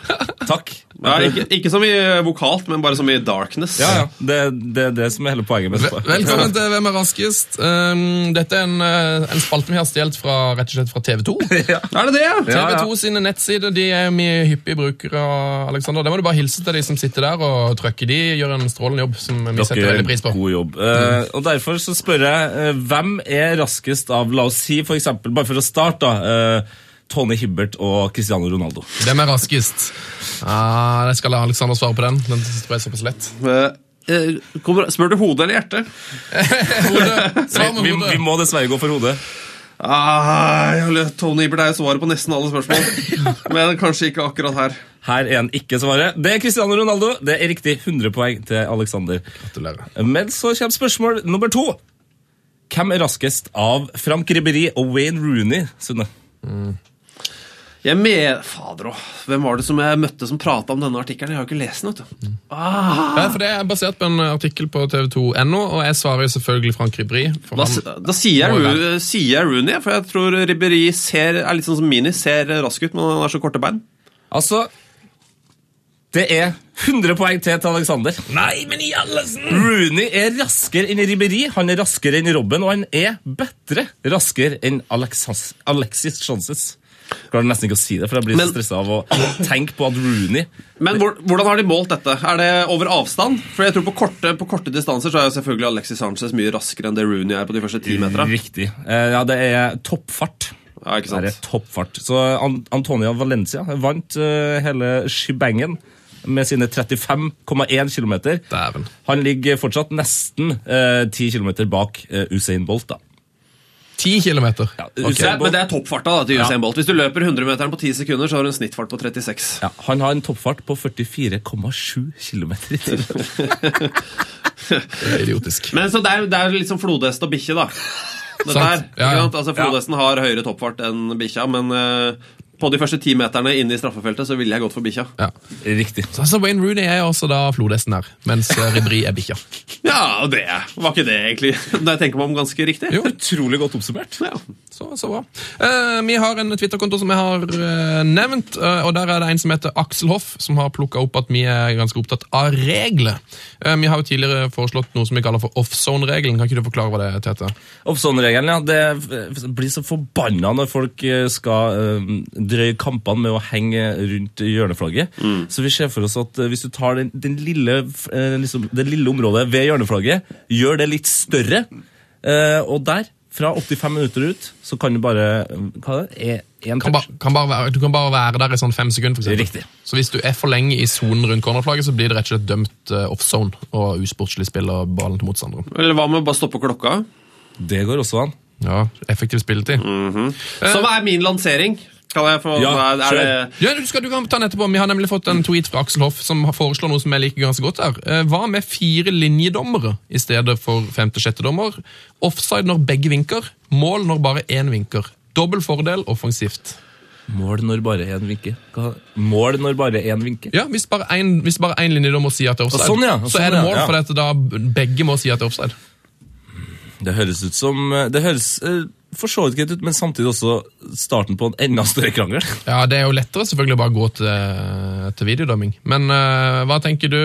takk.
Ja, ikke, ikke som i eh, vokalt, men bare som i darkness.
Ja, ja. Det er det, er det som er hele poenget med
Vel- Velkommen til Hvem er raskest? Um, dette er en, eh, en spalte vi har stjålet fra, rett og slett fra TV 2.
Er det det, ja?
Ja, ja.
TV 2 sine nettsider de er jo mye hyppige brukere. av, Alexander. Det må du bare hilse til de som sitter der og trykker de. Gjør en strålende jobb som vi setter
Dere
veldig pris på. Mm.
God jobb. Eh, og Derfor så spør jeg eh, hvem er raskest av La oss si for eksempel, bare for å starte, da, eh, Tone Hibbert og Cristiano Ronaldo.
Hvem er raskest? Ah, jeg skal la Alexander svare på den. Den tror jeg er såpass lett.
Eh, eh, kommer, spør du hodet eller hjertet?
Hodet.
Vi,
Svar med
vi, vi
hodet.
må dessverre gå for hodet.
Ah, jeg har lyst- Tony Ibert er jo svaret på nesten alle spørsmål. Men kanskje ikke akkurat her.
Her er han ikke svaret. Det er Cristiano Ronaldo. Det er riktig. 100 poeng til Alexander.
Gratulerer.
Men så kommer spørsmål nummer to. Hvem er raskest av Frank Ribberi og Wayne Rooney? Sunne?
Jeg med... Fader òg. Hvem var det som jeg møtte som prata om denne artikkelen? Jeg har jo ikke lest den. vet du.
Ja, for Det er basert på en artikkel på tv2.no, og jeg svarer jo selvfølgelig Frank Ribri. For
Da,
han-
s- da sier, jeg, Ru- sier jeg Rooney, for jeg tror Ribberi ser, er litt sånn som Mini. Ser rask ut, men han har så korte bein.
Altså Det er 100 poeng til til Alexander. Nei, men i allesen! Rooney er raskere enn Ribberi, han er raskere enn Robben, og han er bedre raskere enn Alexas, Alexis Chances. Jeg klarer nesten ikke å si det, for jeg blir så
Men-
stressa av å tenke på at Rooney
Men hvor, hvordan har de målt dette? Er det over avstand? For jeg tror På korte, på korte distanser så er jo selvfølgelig Alexis Sanchez mye raskere enn det Rooney er på de første ti metera.
Riktig. Eh, Ja, det er toppfart.
Ja, ikke
Det er
sant?
toppfart. Så An Antonia Valencia vant eh, hele shebangen med sine 35,1 km.
Dæven.
Han ligger fortsatt nesten eh, 10 km bak eh, Usain Bolt, da.
10 kilometer?
Ja,
Ok.
Usain Bolt-
men det er toppfarta da, til Usain Bolt. Hvis du løper 100-meteren på 10 sekunder, så har du en snittfart på 36.
Ja, han har en toppfart på 44,7 km i timen.
Det er idiotisk.
Men så det er, det er litt som flodhest og bikkje, da. Dette her,
Sant. Ja,
ikke
ja.
sant? Altså, Flodhesten har høyere toppfart enn bikkja, men eh, på de første ti meterne inne i straffefeltet så ville jeg gått for bikkja.
Ja.
Riktig.
Så altså, Wayne Rooney er jo også da flodhesten her, mens eh, Ribéry er bikkja.
Ja, og det var ikke det egentlig Når jeg tenker meg om ganske riktig.
Jo.
Utrolig godt oppsummert.
Ja.
Så, så bra. Eh, vi har en Twitter-konto som jeg har eh, nevnt, eh, og der er det en som heter Aksel Hoff, som har plukka opp at vi er ganske opptatt av regler. Eh, vi har jo tidligere foreslått noe som vi kaller for offzone-regelen. Kan ikke du forklare hva det er, Tete?
Oppsonregelen, ja. Det f- blir så forbanna når folk eh, skal eh, drøye kampene med å henge rundt hjørneflagget. Så vi ser for oss at eh, hvis du tar den, den lille, f- eh, liksom, det lille området ved hjørneflagget, gjør det litt større, eh, og der, fra 85 minutter ut, så kan du bare Hva er det? E- Én
Kan ba, kan bare være, du kan bare være der i sånn fem sekunder, for eksempel.
Riktig.
Så hvis du er for lenge i sonen rundt cornerflagget, så blir det rett og slett dømt eh, offzone og usportslig spill av ballen til motstanderen.
Eller hva med å bare stoppe klokka?
Det går også an.
Ja, Effektiv spilletid.
Som er min lansering. Kan jeg få
Ja,
er, det-
Ja, du, skal, du kan ta den etterpå. Vi har nemlig fått en tweet fra Aksel Hoff som har foreslår noe som jeg liker ganske godt her. Eh, Hva med fire linjedommere i stedet for femte-sjette dommer? Offside når begge vinker, mål når bare én vinker. Dobbel fordel offensivt.
Mål når bare én vinker. Hva? Mål når bare én vinker.
Ja, Hvis bare én hvis bare én linjedommer sier at det er offside,
Og sånn, ja, og
så er
sånn,
det
ja,
mål,
ja.
for at da begge må si at det er offside.
Det høres ut som eh, Det høres eh, for så vidt greit ut, men samtidig også starten på en enda større krangel.
Ja, Det er jo lettere selvfølgelig å bare gå til, til videodømming. Men eh, hva tenker du,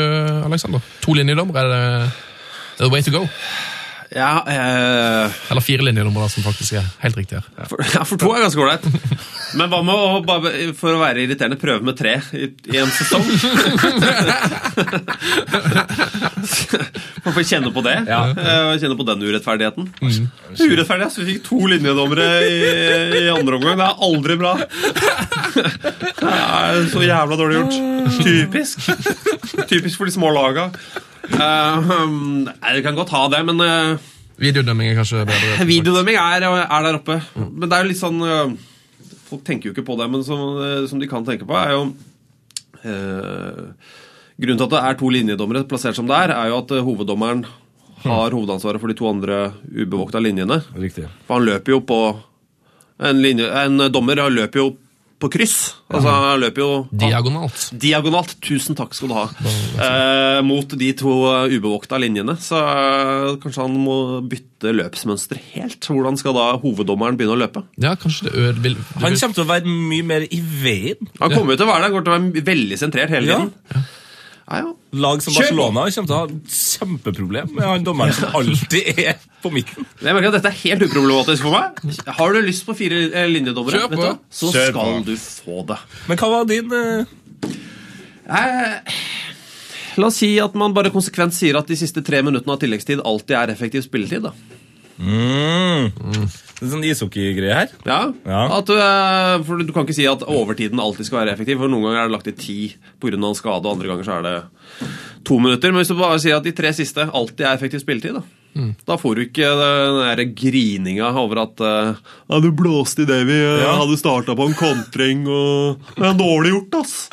Aleksander? To linjedommere, er det the way to go?
ja, eh,
Eller fire linjedommere, som faktisk er helt riktig her.
for, ja, for to er ganske ålreit. Men hva med å bare, for å være irriterende, prøve med tre i, i en sesong? Man får kjenne på det.
Ja.
eh, og Kjenne på den urettferdigheten. Urettferdig, altså. Vi fikk to linjedommere i, i andre omgang. Det er aldri bra. Det er så jævla dårlig gjort. Typisk. Typisk for de små laga. Eh, um, nei, du kan godt ha det, men eh,
Videodømming er kanskje bedre.
Videodømming er, er der oppe. Men det er jo litt sånn øh, Folk tenker jo ikke på det, men som, øh, som de kan tenke på, er jo øh, Grunnen til at det er to linjedommere plassert som det er, er jo at øh, hoveddommeren har hovedansvaret for de to andre ubevokta linjene.
Riktig.
For han løper jo på En, linje, en dommer han løper jo på kryss. Altså, han løper jo
Diagonalt.
Diagonalt. Tusen takk skal du ha. Eh, mot de to eh, ubevokta linjene. Så eh, kanskje han må bytte løpsmønster helt. Hvordan skal da hoveddommeren begynne å løpe?
Ja, kanskje det øde vil, det
Han
vil
kommer til å være mye mer i veien.
Han kommer jo til å være der, han kommer til å være veldig sentrert hele
Ja.
tiden. Ja, ja.
Lag som
Kjør på!
Barcelona kommer til å ha kjempeproblem med han dommeren som alltid er på midten.
Men Jeg merker at Dette er helt uproblematisk for meg. Har du lyst på fire eh, linjedommere,
Kjør på.
vet du, så
Kjør
skal
på.
du få det.
Men hva var din eh,
Eh, La oss si at man bare konsekvent sier at de siste tre minuttene av tilleggstid alltid er effektiv spilletid. da.
mm, en sånn ishockeygreie her?
Ja,
Ja.
At du, eh, for du kan ikke si at overtiden alltid skal være effektiv, for noen ganger er det lagt til ti pga. en skade, og andre ganger så er det to minutter. Men hvis du bare sier at de tre siste alltid er effektiv spilletid, da,
Mm.
da får du ikke den der grininga over at eh, ja, du blåste i det vi eh,
Ja.
hadde starta på en kontring, og det er dårlig gjort, ass!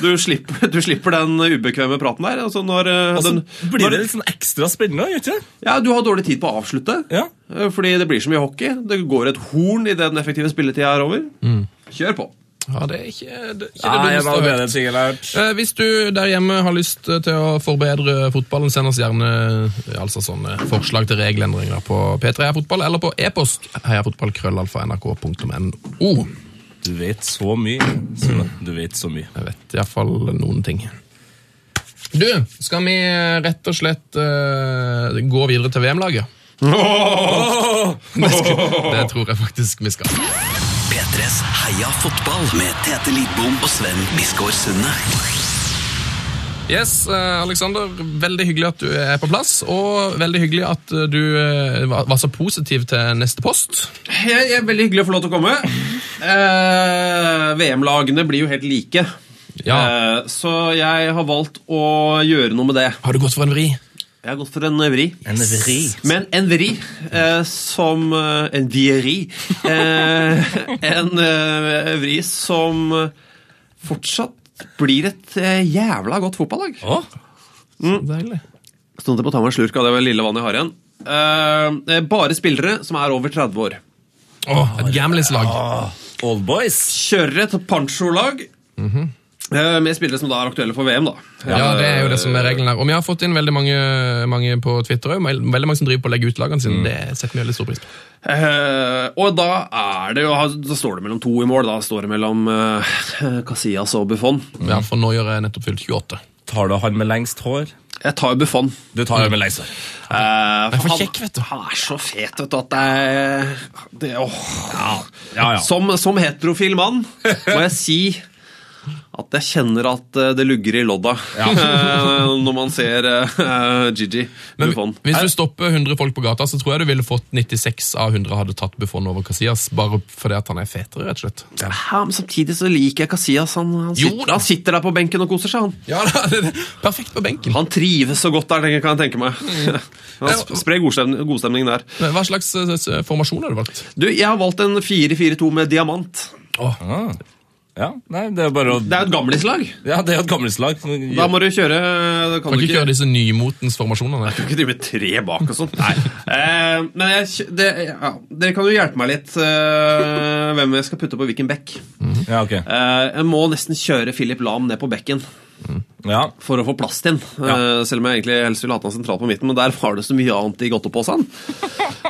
Du slipper, du slipper den ubekvemme praten der. Altså når, eh,
Og så
den,
blir
når,
det litt sånn ekstra spennende, gjør ikke det?
ja, du har dårlig tid på å avslutte.
Ja.
Eh, Fordi det blir så mye hockey. Det går et horn i det den effektive spilletida er over.
Mm.
Kjør på.
Ja, det er ikke det, ikke det
Nei, en av
dummeste
de
jeg har
bedre
hørt.
tingene jeg har hørt.
Eh, Hvis du der hjemme har lyst eh, til å forbedre fotballen, send oss gjerne eh, altså sånne forslag til regelendringer på P3 Heia Fotball eller på e-post heiafotballkrøllalfa.nrk.no.
Du vet så mye. Sune. Du vet så mye.
Jeg vet iallfall noen ting. Du, skal vi eh, rett og slett eh, gå videre til VM-laget? Det skal- det tror jeg faktisk vi skal.
P3s Heia fotball med Tete Lidbom og Sven Biskår Sunde.
Yes, eh, Alexander, veldig hyggelig at du er på plass, og veldig hyggelig at eh, du eh, var var så positiv til neste post.
Jeg, jeg er Veldig hyggelig å få lov til å komme. Eh, VM-lagene blir jo helt like.
Ja.
Eh, så jeg har valgt å gjøre noe med det.
Har du gått for en vri?
Jeg har gått for en eh, vri.
En vri.
Men en vri eh, som eh, En vieri. Eh, en eh, vri som eh, fortsatt blir et eh, jævla godt fotballag.
Å,
Mm. Deilig.
Stod til på å ta meg en slurk av det lille vannet jeg har igjen. Eh, eh, bare spillere som er over 30 år.
Åh, et gamlislag.
Old boys.
Kjører et pancho-lag eh, med spillere som da er aktuelle for VM, da.
Ja, det er jo det som er regelen her. Og vi har fått inn veldig mange, mange på Twitter òg. Veldig mange som driver på å legge ut lagene sine. Det setter vi veldig stor pris på.
Eh, og da er det jo altså, Da står det mellom to i mål. Da står det mellom eh, Casillas og Buffon.
Ja, for nå gjør jeg nettopp fylt 28.
Tar du han med lengst hår? Mm.
Jeg tar Buffon.
Du tar han med lengst hår.
Eh,
er for
han-
kjekk, vet du.
Han er så fet, vet du, at det er det, åh.
Ja, ja.
Som, som heterofil mann må jeg si at jeg kjenner at eh, det lugger i lodda eh, når man ser eh, Gigi
Men
Buffon.
hvis du stopper 100 folk på gata, så tror jeg du ville fått 96 av 100 hadde tatt Buffon over Casillas, bare fordi at han er fetere, rett og slett.
Ja, Ah, men samtidig så liker jeg Casillas. Han, han,
Jo
sitter,
da.
han sitter der på benken og koser seg. Han
Ja, da, det, det. Perfekt på benken.
Han trives så godt der, tenker jeg, kan jeg tenke meg.
Mm.
Han sp- Sprer godstemning, godstemning der.
Men Hva slags eh, s- formasjon har du valgt?
Du, jeg har valgt en 4-4-2 med diamant.
Ah. Ja, nei, det er bare å
Det er jo et gamlislag.
Ja, det er jo et gammelslag.
Da må du kjøre da kan
Kan
du
ikke kjøre disse nymotens formasjonene.
Du kan ikke drive med tre bak og sånn. Eh, men jeg, kj- det, ja, dere kan jo hjelpe meg litt eh, hvem jeg skal putte på hvilken bekk.
Ja, ok.
Eh, jeg må nesten kjøre Philip Lahm ned på bekken
Ja.
for å få plass til han. Eh, selv om jeg egentlig helst ville hatt han sentralt på midten, men der var det så mye annet i godteposen.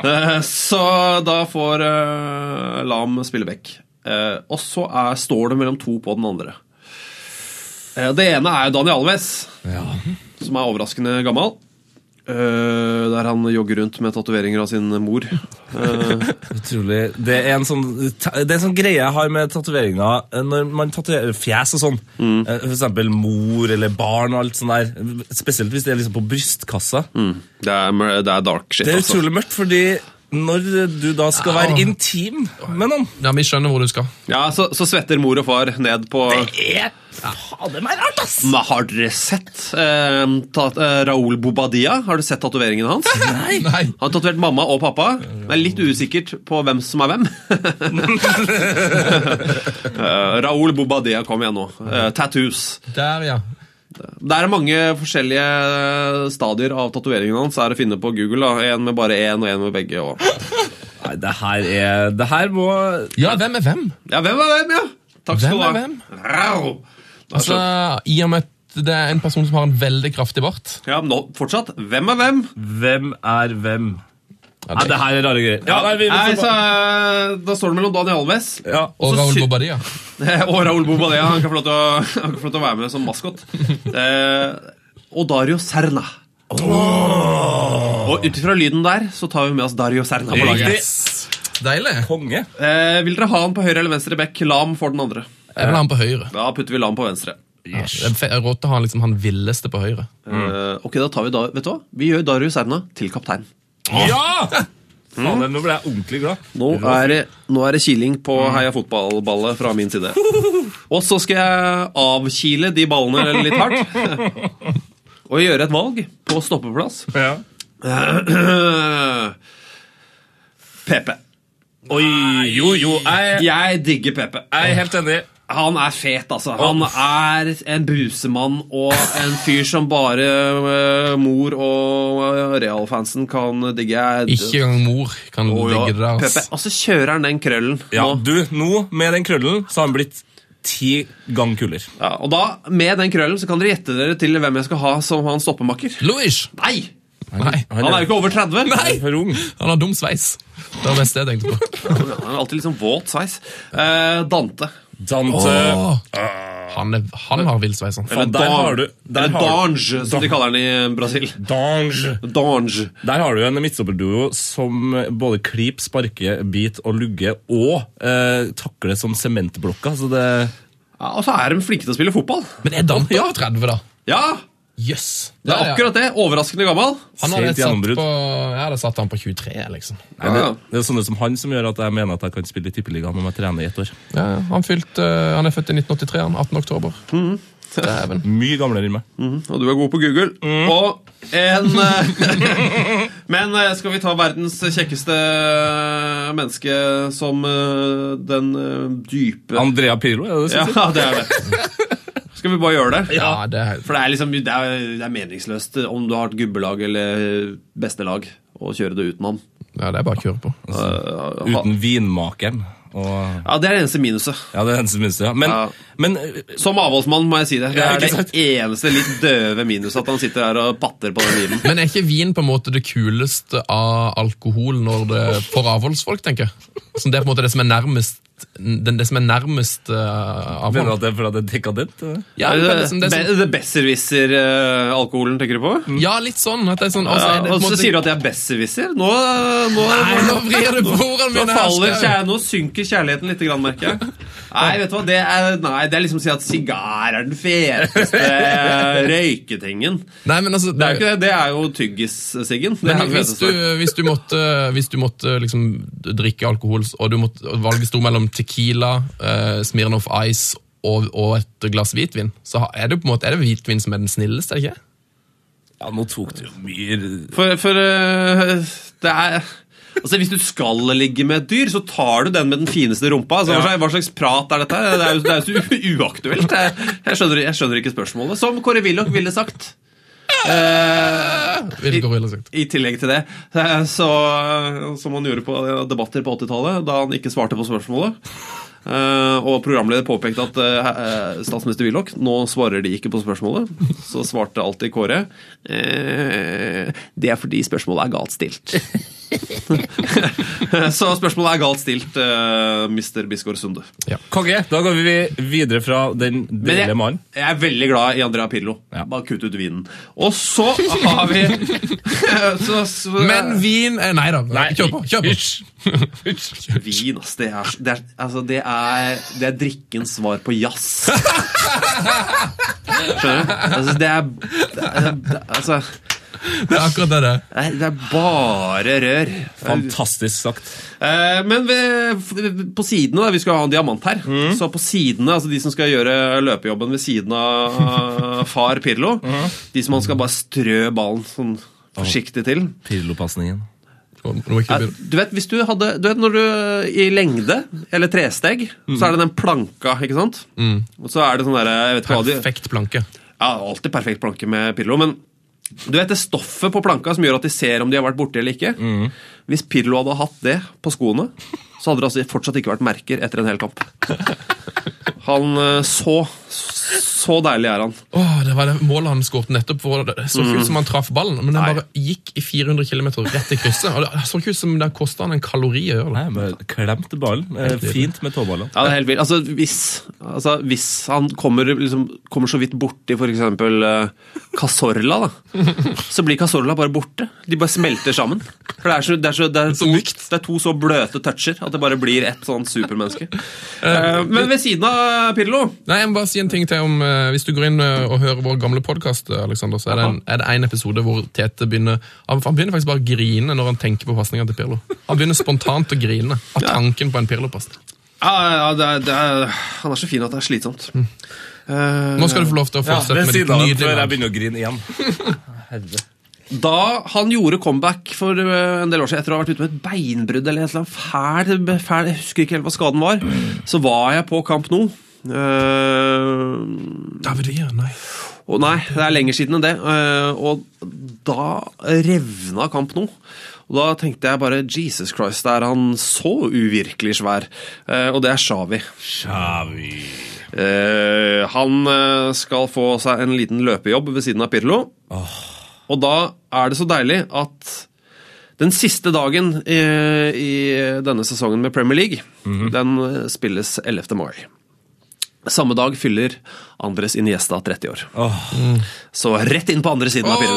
eh, så da får eh, Lahm spille bekk. Eh, og så er, står det mellom to på den andre. Eh, det ene er jo Daniel Alves
ja.
som er overraskende gammel. Eh, der han jogger rundt med tatoveringer av sin mor. Eh,
Utrolig. Det er en sånn, det er en sånn greie jeg har med tatoveringer. eh, Når man tatoverer fjes og sånn, eh, for eksempel mor eller barn og alt sånt der, spesielt hvis det er liksom på brystkassa,
Mm. det, er, mør- det er dark shit,
det er
altså.
utrolig mørkt, fordi når du da skal være intim med noen
Ja, Vi skjønner hvor du skal.
Ja, så, så svetter mor og far ned på
er fader meg rart, ass!
Men Har dere sett eh, ta, eh, Raoul Bobadilla? Har du sett tatoveringene hans? Han
Nei!
Nei.
har tatovert mamma og pappa. Det er litt usikkert på hvem som er hvem. Eh, Raoul Bobadilla, kom igjen nå. Eh, tattoos.
Der, ja.
Det er mange forskjellige eh, stadier av tatoveringene hans er å finne på Google. da. En med bare én og en med begge. Og...
Nei, det her er Det her må
Ja, hvem er hvem?
Ja, hvem er hvem, ja? Takk
Hvem
skal du ha.
er hvem?
Rau. Da
Altså,
skjønner-
I og med at det er en person som har en veldig kraftig bart.
Ja, men nå, fortsatt. Hvem er hvem?
Hvem er hvem?
Ja,
Nei, det her er rare greier. Ja, nei, vi,
Nei, så, eh, da står det mellom Daniel Alves
ja.
Og
så
Raoul
sy-
Bobadilla.
og Raúl Bobadilla. Han kan få lov til å, han kan få lov til å være med som maskot. Eh, og Dario Serna. Og ut ifra lyden der så tar vi med oss Dario Serna på laget.
Yes. Deilig.
Konge.
Eh, vil dere ha han på høyre eller venstre bekk? Lam for den andre.
Jeg vil ha han på høyre.
Da putter vi Lam på venstre.
Ja, det er fe- Råd til å ha han liksom han villeste på høyre.
Eh, ok, da tar Vi da, vet du hva? Vi gjør Dario Serna til kaptein.
Ja! Faen, nå ble jeg ordentlig glad.
Nå er, det, nå er det kiling på
Mm.
heia fotballballet fra min side. Og så skal jeg avkile de ballene litt hardt. Og gjøre et valg på stoppeplass.
Ja.
PP.
Oi, jo, jo. Jeg,
Jeg digger PP.
jeg er helt enig.
Han er fet, altså. Han er en brusemann og en fyr som bare eh, mor og eh, Real-fansen kan digge. Jeg-
Ikke engang mor kan
Å, ja.
digge det der.
Pepe.
ass.
Og så kjører han den krøllen.
Ja,
nå.
du, nå, med den krøllen, så har han blitt ti gang kulere.
Ja, og da, med den krøllen, så kan dere gjette dere til hvem jeg skal ha som hans stoppemakker.
Louis!
Nei!
Nei,
Han er jo ikke over 30.
Nei!
for ung.
Han har dum sveis. Det var mest det jeg tenkte på.
Han er alltid liksom våt sveis. Eh, Dante.
Dante.
Åh. Han, er, han har vill sveis. han.
Eller der
Dan-
har du der
Eller
har,
Dange, som de kaller den i Brasil.
Dange.
Dange.
Der har du en midtstopperduo som både kliper, sparker, biter og lugger, og eh, takler som sementblokker. Så det
Ja, og så er de flinke til å spille fotball.
Men er Dante over 30, da?
Ja!
Jøss.
Det
Der,
er
ja.
akkurat det. Overraskende gammel.
Han hadde
Sent
satt
gjennombrudd.
på, jeg hadde satt han på 23, liksom.
Nei,
Ja, ja.
det, det er sånne som han som gjør at jeg mener at jeg kan spille i Tippeligaen om jeg trener i ett år.
Ja, ja. han, fylte, eh, han er født i 1983, han. 18. oktober.
Mhm.
Dæven.
Mye gamlere enn meg.
Og du er god på Google.
Mm.
Og en eh, Men eh, skal vi ta verdens kjekkeste eh, menneske som eh, den eh, dype
Andrea Pirlo, er det det
Ja,
du sier?
det er det. Skal vi bare gjøre det?
Ja, det er helt
For det er liksom det er, det er meningsløst om du har et gubbelag eller beste lag, å kjøre det uten ham.
Ja, det er bare å kjøre på.
Eh, ha-
Uten vinmakeren. Og,
Ja, det er det eneste minuset.
ja, det er den som minst, ja. Men,
Ja.
men øh,
Som avholdsmann må jeg si det. Det
Ja,
er
ikke
det
sant?
eneste litt døve minuset at han sitter her og patter på den bilen.
Men er ikke vin på en måte det kuleste av alkohol når det for avholdsfolk, tenker jeg? Så det er på en måte det som er nærmest den, det som er nærmest eh,
mener du
avhold.
at det er fordi det er dekadent? eller?
Ja,
Er
men
det
det, som, det som,
be- det besserwisser-alkoholen, tenker du på?
ja, litt sånn. At det er sånn og så er det på
og
en
så
måte-
sier du at jeg er besserwisser? Nå, eh, nå,
Nei, nå vrir du på ordene
nå,
mine! her,
faller
Skau.
kjær, nå synker kjærligheten litt, grann, merker jeg. Nei, vet du hva? Det er, nei, det er liksom å si at sigar er den feteste røyketingen.
Nei, men altså,
Det er jo ikke det. Det er jo tyggissiggen. Det er
Men
den
hvis du,
feteste.
hvis du måtte, hvis du måtte liksom drikke alkohol, og, du måtte, og valget sto mellom tequila, eh, Smirnoff Ice og, og et glass hvitvin, så ha- er det på en måte, er det hvitvin som er den snilleste, er det ikke?
Ja, nå tok du jo mye
For, for øh, det er Altså, Hvis du skal ligge med et dyr, så tar du den med den fineste rumpa. Altså, hva, slags, hva slags prat er dette? her? Det er jo, det er jo så u- uaktuelt. Jeg, jeg, skjønner, jeg skjønner ikke spørsmålet. Som Kåre Willoch ville sagt. Eh,
Vil gå ville sagt.
I tillegg til det, eh, så, som han gjorde på eh, debatter på 80-tallet, da han ikke svarte på spørsmålet. Eh, og programleder påpekte at eh, eh, statsminister Willoch nå svarer de ikke på spørsmålet. Så svarte alltid Kåre eh, det er fordi spørsmålet er galt stilt. så spørsmålet er galt stilt, eh, Mr. Bisgaard Sunde.
Konge, da går vi videre fra den
Men jeg,
deilige mannen.
jeg er veldig glad i Andrea Pirlo.
Ja.
Bare kutt ut vinen. Og så har vi så, så,
Men vin eh, Nei da, kjør på. Kjør på.
Vin, ass. Det er, det er, altså, det er, det er drikkens svar på jazz. Skjønner du? Altså, det er, det er det er- Altså
Det er akkurat det det er.
nei, Det er bare rør.
Fantastisk sagt.
Eh, Men ved, på sidene, da, vi skal ha en diamant her, så på sidene, altså de som skal gjøre løpejobben ved siden av eh, far Pirlo, de som han skal bare strø ballen sånn forsiktig til
Pirlo-pasningen.
Nå må ikke
Ja,
begynne.
du vet, hvis du hadde Du vet når du I lengde, eller tresteg, så er det den planka, ikke sant? Og så er det sånn derre Jeg vet ikke hva de
Mm. Perfekt planke.
Ja, alltid perfekt planke med Pirlo, men du vet det stoffet på planka som gjør at de ser om de har vært borti eller ikke?
Mm.
Hvis Pirlo hadde hatt det på skoene, så hadde det altså fortsatt ikke vært merker etter en hel kamp. Han eh, Så Så deilig er han.
Åh, det var det målet han skåret nettopp. For det så ikke ut som han traff ballen, men den
Mm. Nei.
bare gikk i 400 km rett i krysset. Og det så ikke ut som det kosta han en kalori å gjøre det.
Nei, men Klemte ballen. Eh, Fint med tåballene.
Ja, det er helt vilt. Altså, hvis, altså, hvis han kommer, liksom, kommer så vidt borti f.eks. Uh, Casorla, da, så blir Casorla bare borte. De bare smelter sammen. For det er, så, det er, så, det er, to, det er to så bløte toucher at det bare blir ett sånn supermenneske. Eh, men ved siden av Pirlo
Nei, jeg må bare si en ting til om eh, Hvis du går inn eh, og hører vår gamle podkast, Alexander, så er det, en, er det en episode hvor Tete begynner Han, han begynner faktisk bare å grine når han tenker på pasninga til Pirlo. Han begynner spontant å grine av tanken på en Pirlo-pasning.
ja, ja, det er, det er, Han er så fin at det er slitsomt. Eh,
Mm. Nå skal du få lov til å
Ja,
fortsette
ved
med ditt
siden av den
nydelige
før jeg
lag.
begynner å grine igjen.
Da han gjorde comeback for eh, en del år siden, etter å ha vært ute med et beinbrudd eller et eller annet fæl, fæl Jeg husker ikke helt hva skaden var. Så var jeg på Kamp Nou. Eh,
David Villa, nei.
og nei, det er lenger siden enn det. Eh, og da revna Kamp nå. Og da tenkte jeg bare Jesus Christ, er han så uvirkelig svær? Eh, og det er Shawi. Eh, han eh, skal få seg en liten løpejobb ved siden av Pirlo. Og da er det så deilig at den siste dagen eh, i denne sesongen med Premier League, den eh, spilles 11. mai. Samme dag fyller Andres Iniesta 30 år.
Åh.
Så rett inn på andre siden av Pirlo.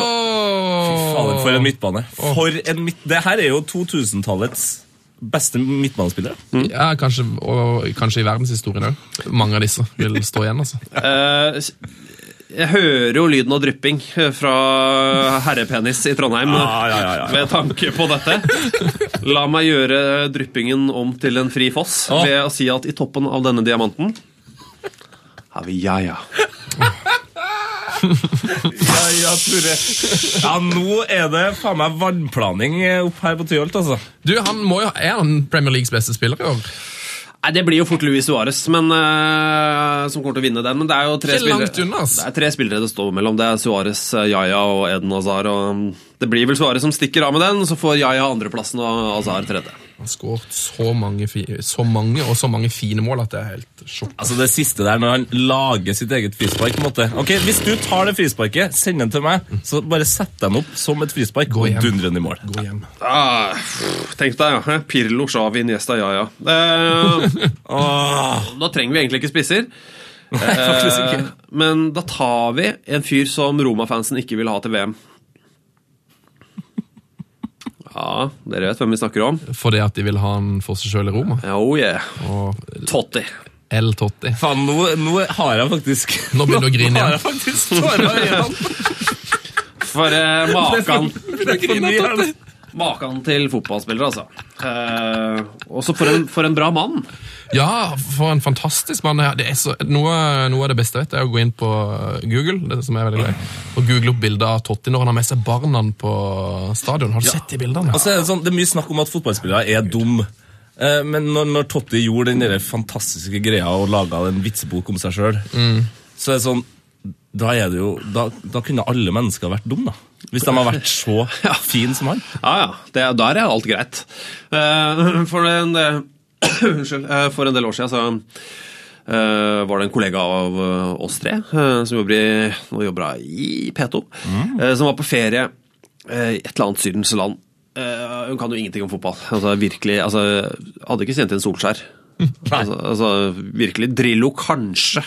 Fader,
Fader,
for en midtbane. For en midt... Det her er jo 2000-tallets beste midtbanespillere.
Ja, kanskje, og, kanskje i verdenshistorien òg. Mange av disse vil stå igjen, altså.
Eh, Jeg hører jo lyden av drypping eh, fra herrepenis i Trondheim
Ja, ja, ja, ja.
med tanke på dette. La meg gjøre dryppingen om til en fri foss
Å.
ved å si at i toppen av denne diamanten har vi ja-ja.
Ja, ja, Tore. Ja, nå er det faen meg vannplaning opp her på Tyholt, altså.
Du, han må jo, Er han Premier Leagues beste spiller i år?
Nei, Det blir jo fort Luis Suárez men, eh, som kommer til å vinne den. Men det er jo tre
Ikke langt
spillere
unna, ass.
Det er tre spillere det står mellom. Det er Suárez, eh, Yaya og Eden Hazard. Og mm, det blir vel Suárez som stikker av med den, så får Yaya andreplassen og Hazard tredje.
Han har skåret så mange, fi, så mange og så mange fine mål at det er helt sjokk.
Altså Det siste der, når han lager sitt eget frispark på en måte. Ok, Hvis du tar det frisparket, send den til meg, så bare sett den opp som et frispark og
hjem.
dundre den i mål.
Gå hjem.
Ah, pff, tenk deg, ja. Pirlo, Xavi, Niesta, Yaya. Eh,
Åh,
da trenger vi egentlig ikke spisser.
Ah. nei, faktisk
Eh,
ikke.
men da tar vi en fyr som Roma-fansen ikke vil ha til VM. Ja, dere vet hvem vi snakker om.
Fordi at de vil ha han for seg sjøl i Roma.
Oh yeah.
Og
Totti.
L. Totti.
Faen, nå, nå har jeg faktisk
Nå begynner du å grine
Nå har
igjen.
jeg faktisk tårer i øynene.
For eh, makan,
For mye er det.
makan til fotballspillere, altså. Eh, også for en, for en bra mann.
Ja, for en fantastisk mann. Det er så, noe, noe av det beste jeg vet, er å gå inn på eh, Google det som er veldig glad, i, og google opp bilder av Totti når han har med seg barna på stadion. Har du sett de bildene?
Og så er det, sånn, det er mye snakk om at fotballspillere er dum. Eh, Men når, når Totti gjorde den der fantastiske greia og laga en vitsebok om seg sjøl,
Mm.
så er det sånn da, er det jo, da, da kunne alle mennesker vært dum da. Hvis de har vært så fin som han.
Ja, ja. Det, der er alt greit. Eh, for, en, eh, unnskyld, eh, for en del år siden så eh, var det en kollega av eh, oss tre eh, som jobber i, nå jobber hun i P2, eh, som var på ferie eh, i et eller annet sydens land. Eh, hun kan jo ingenting om fotball. Altså, virkelig, altså, hadde ikke sendt inn Solskjær. Altså, altså, virkelig. Drillo, kanskje.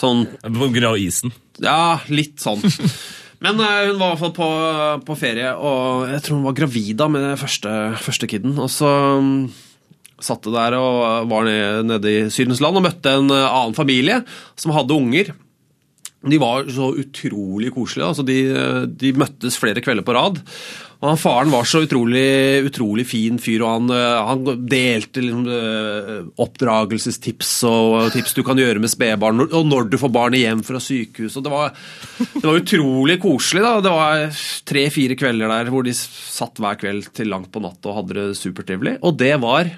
Sånn
På grunn av isen.
ja, litt sånn. Men eh, hun var i hvert fall på, på ferie, og jeg tror hun var gravid da med første, første kiden. Og så mm, satt det der og var nede, nede i Sydens land og møtte en eh, annen familie som hadde unger. De var så utrolig koselige. altså De, de møttes flere kvelder på rad. Og han Faren var så utrolig, utrolig fin fyr, og han, eh, han delte liksom, eh, oppdragelsestips og tips du kan gjøre med spedbarn, når- og når du får barnet hjem fra sykehus. og Det var, det var utrolig koselig. da, Det var tre-fire kvelder der hvor de satt hver kveld til langt på natt og hadde det supertrivelig. Og det var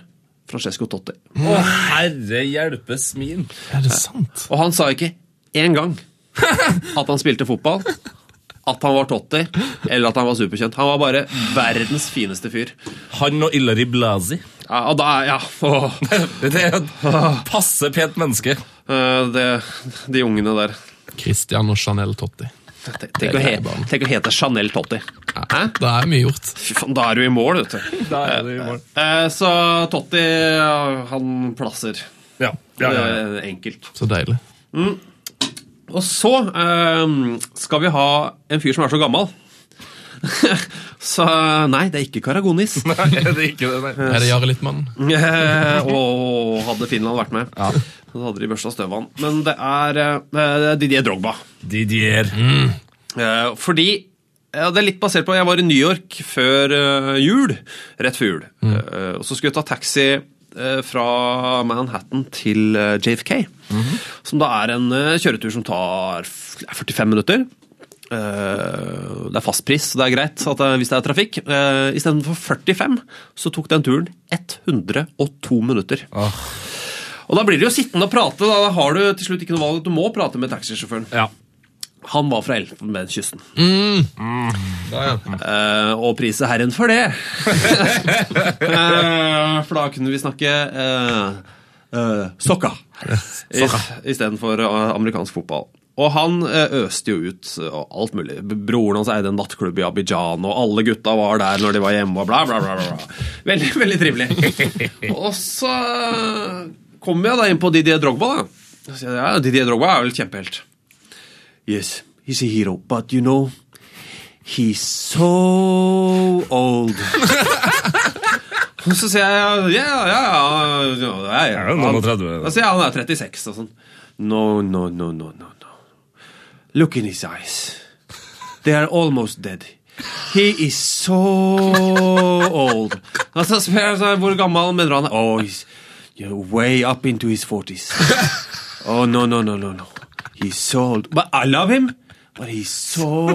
Francesco Totti.
Å, herre hjelpes min.
Er det sant?
Og han sa ikke én gang at han spilte fotball, at han var Totti, eller at han var superkjent. Han var bare verdens fineste fyr.
Han og Ilari Blasi.
Ja, og da er Ja, åh,
Det er et passe pent menneske.
eh, det, de ungene der.
Christian og Chanel Totti.
Tenk, tenk, å, he, tenk å hete Chanel Totti. Hæ?
Det er mye gjort.
Fy faen, da er du i mål, vet du.
Da er det i mål.
Eh, Så Totti, ja, han plasser.
Ja, ja, ja, ja.
Det er Enkelt.
Så deilig.
Og så eh, skal vi ha en fyr som er så gammel. så nei, det er ikke Karagonis.
Nei, det er ikke det, nei.
Er det Jarle Littmann?
Eh, og hadde Finland vært med, så hadde de børsta støv av han. Men det er eh, Didier Drogba.
Didier.
Eh, fordi ja, Det er litt basert på Jeg var i New York før eh, jul. Rett før jul. Eh, og Så skulle jeg ta taxi eh, fra Manhattan til eh, JFK. Som da er en eh, kjøretur som tar f- 45 minutter. Eh, det er fastpris, så det er greit at det, hvis det er trafikk. Uh, Istedenfor 45 så tok den turen 102 minutter. Og da blir det jo sittende og prate. Da har du til slutt ikke noe valg. Du må prate med taxisjåføren.
Ja.
Han var fra Elfenbenskysten. Eh, og prise herren for det. Eh, for da kunne vi snakke uh, sokka I- istedenfor eh, amerikansk fotball. Og han eh, øste jo ut eh, og alt mulig. B- Broren hans eide en nattklubb i Abidjan, og alle gutta var der når de var hjemme, og bla, bla, bla. bla, bla. Veldig, veldig trivelig. og så kommer jeg da inn på Didier Drogba, da. Så sier jeg, Ja, Didier Drogba er vel kjempehelt. Yes, he's a hero, but you know, he's so old. Og så sier jeg ja, ja, ja, ja, ja, ja.
Ja, noen og tredve.
Da sier jeg han er 36 og sånn. No, no, no, no, no, no. Look in his eyes. They are almost dead. He is so old. Altså, spør jeg sånn, hvor gammel mener han er? Oh, he's you're way up into his 40s. Oh, no, no, no, no, no. He's so old. But I love him, but he's so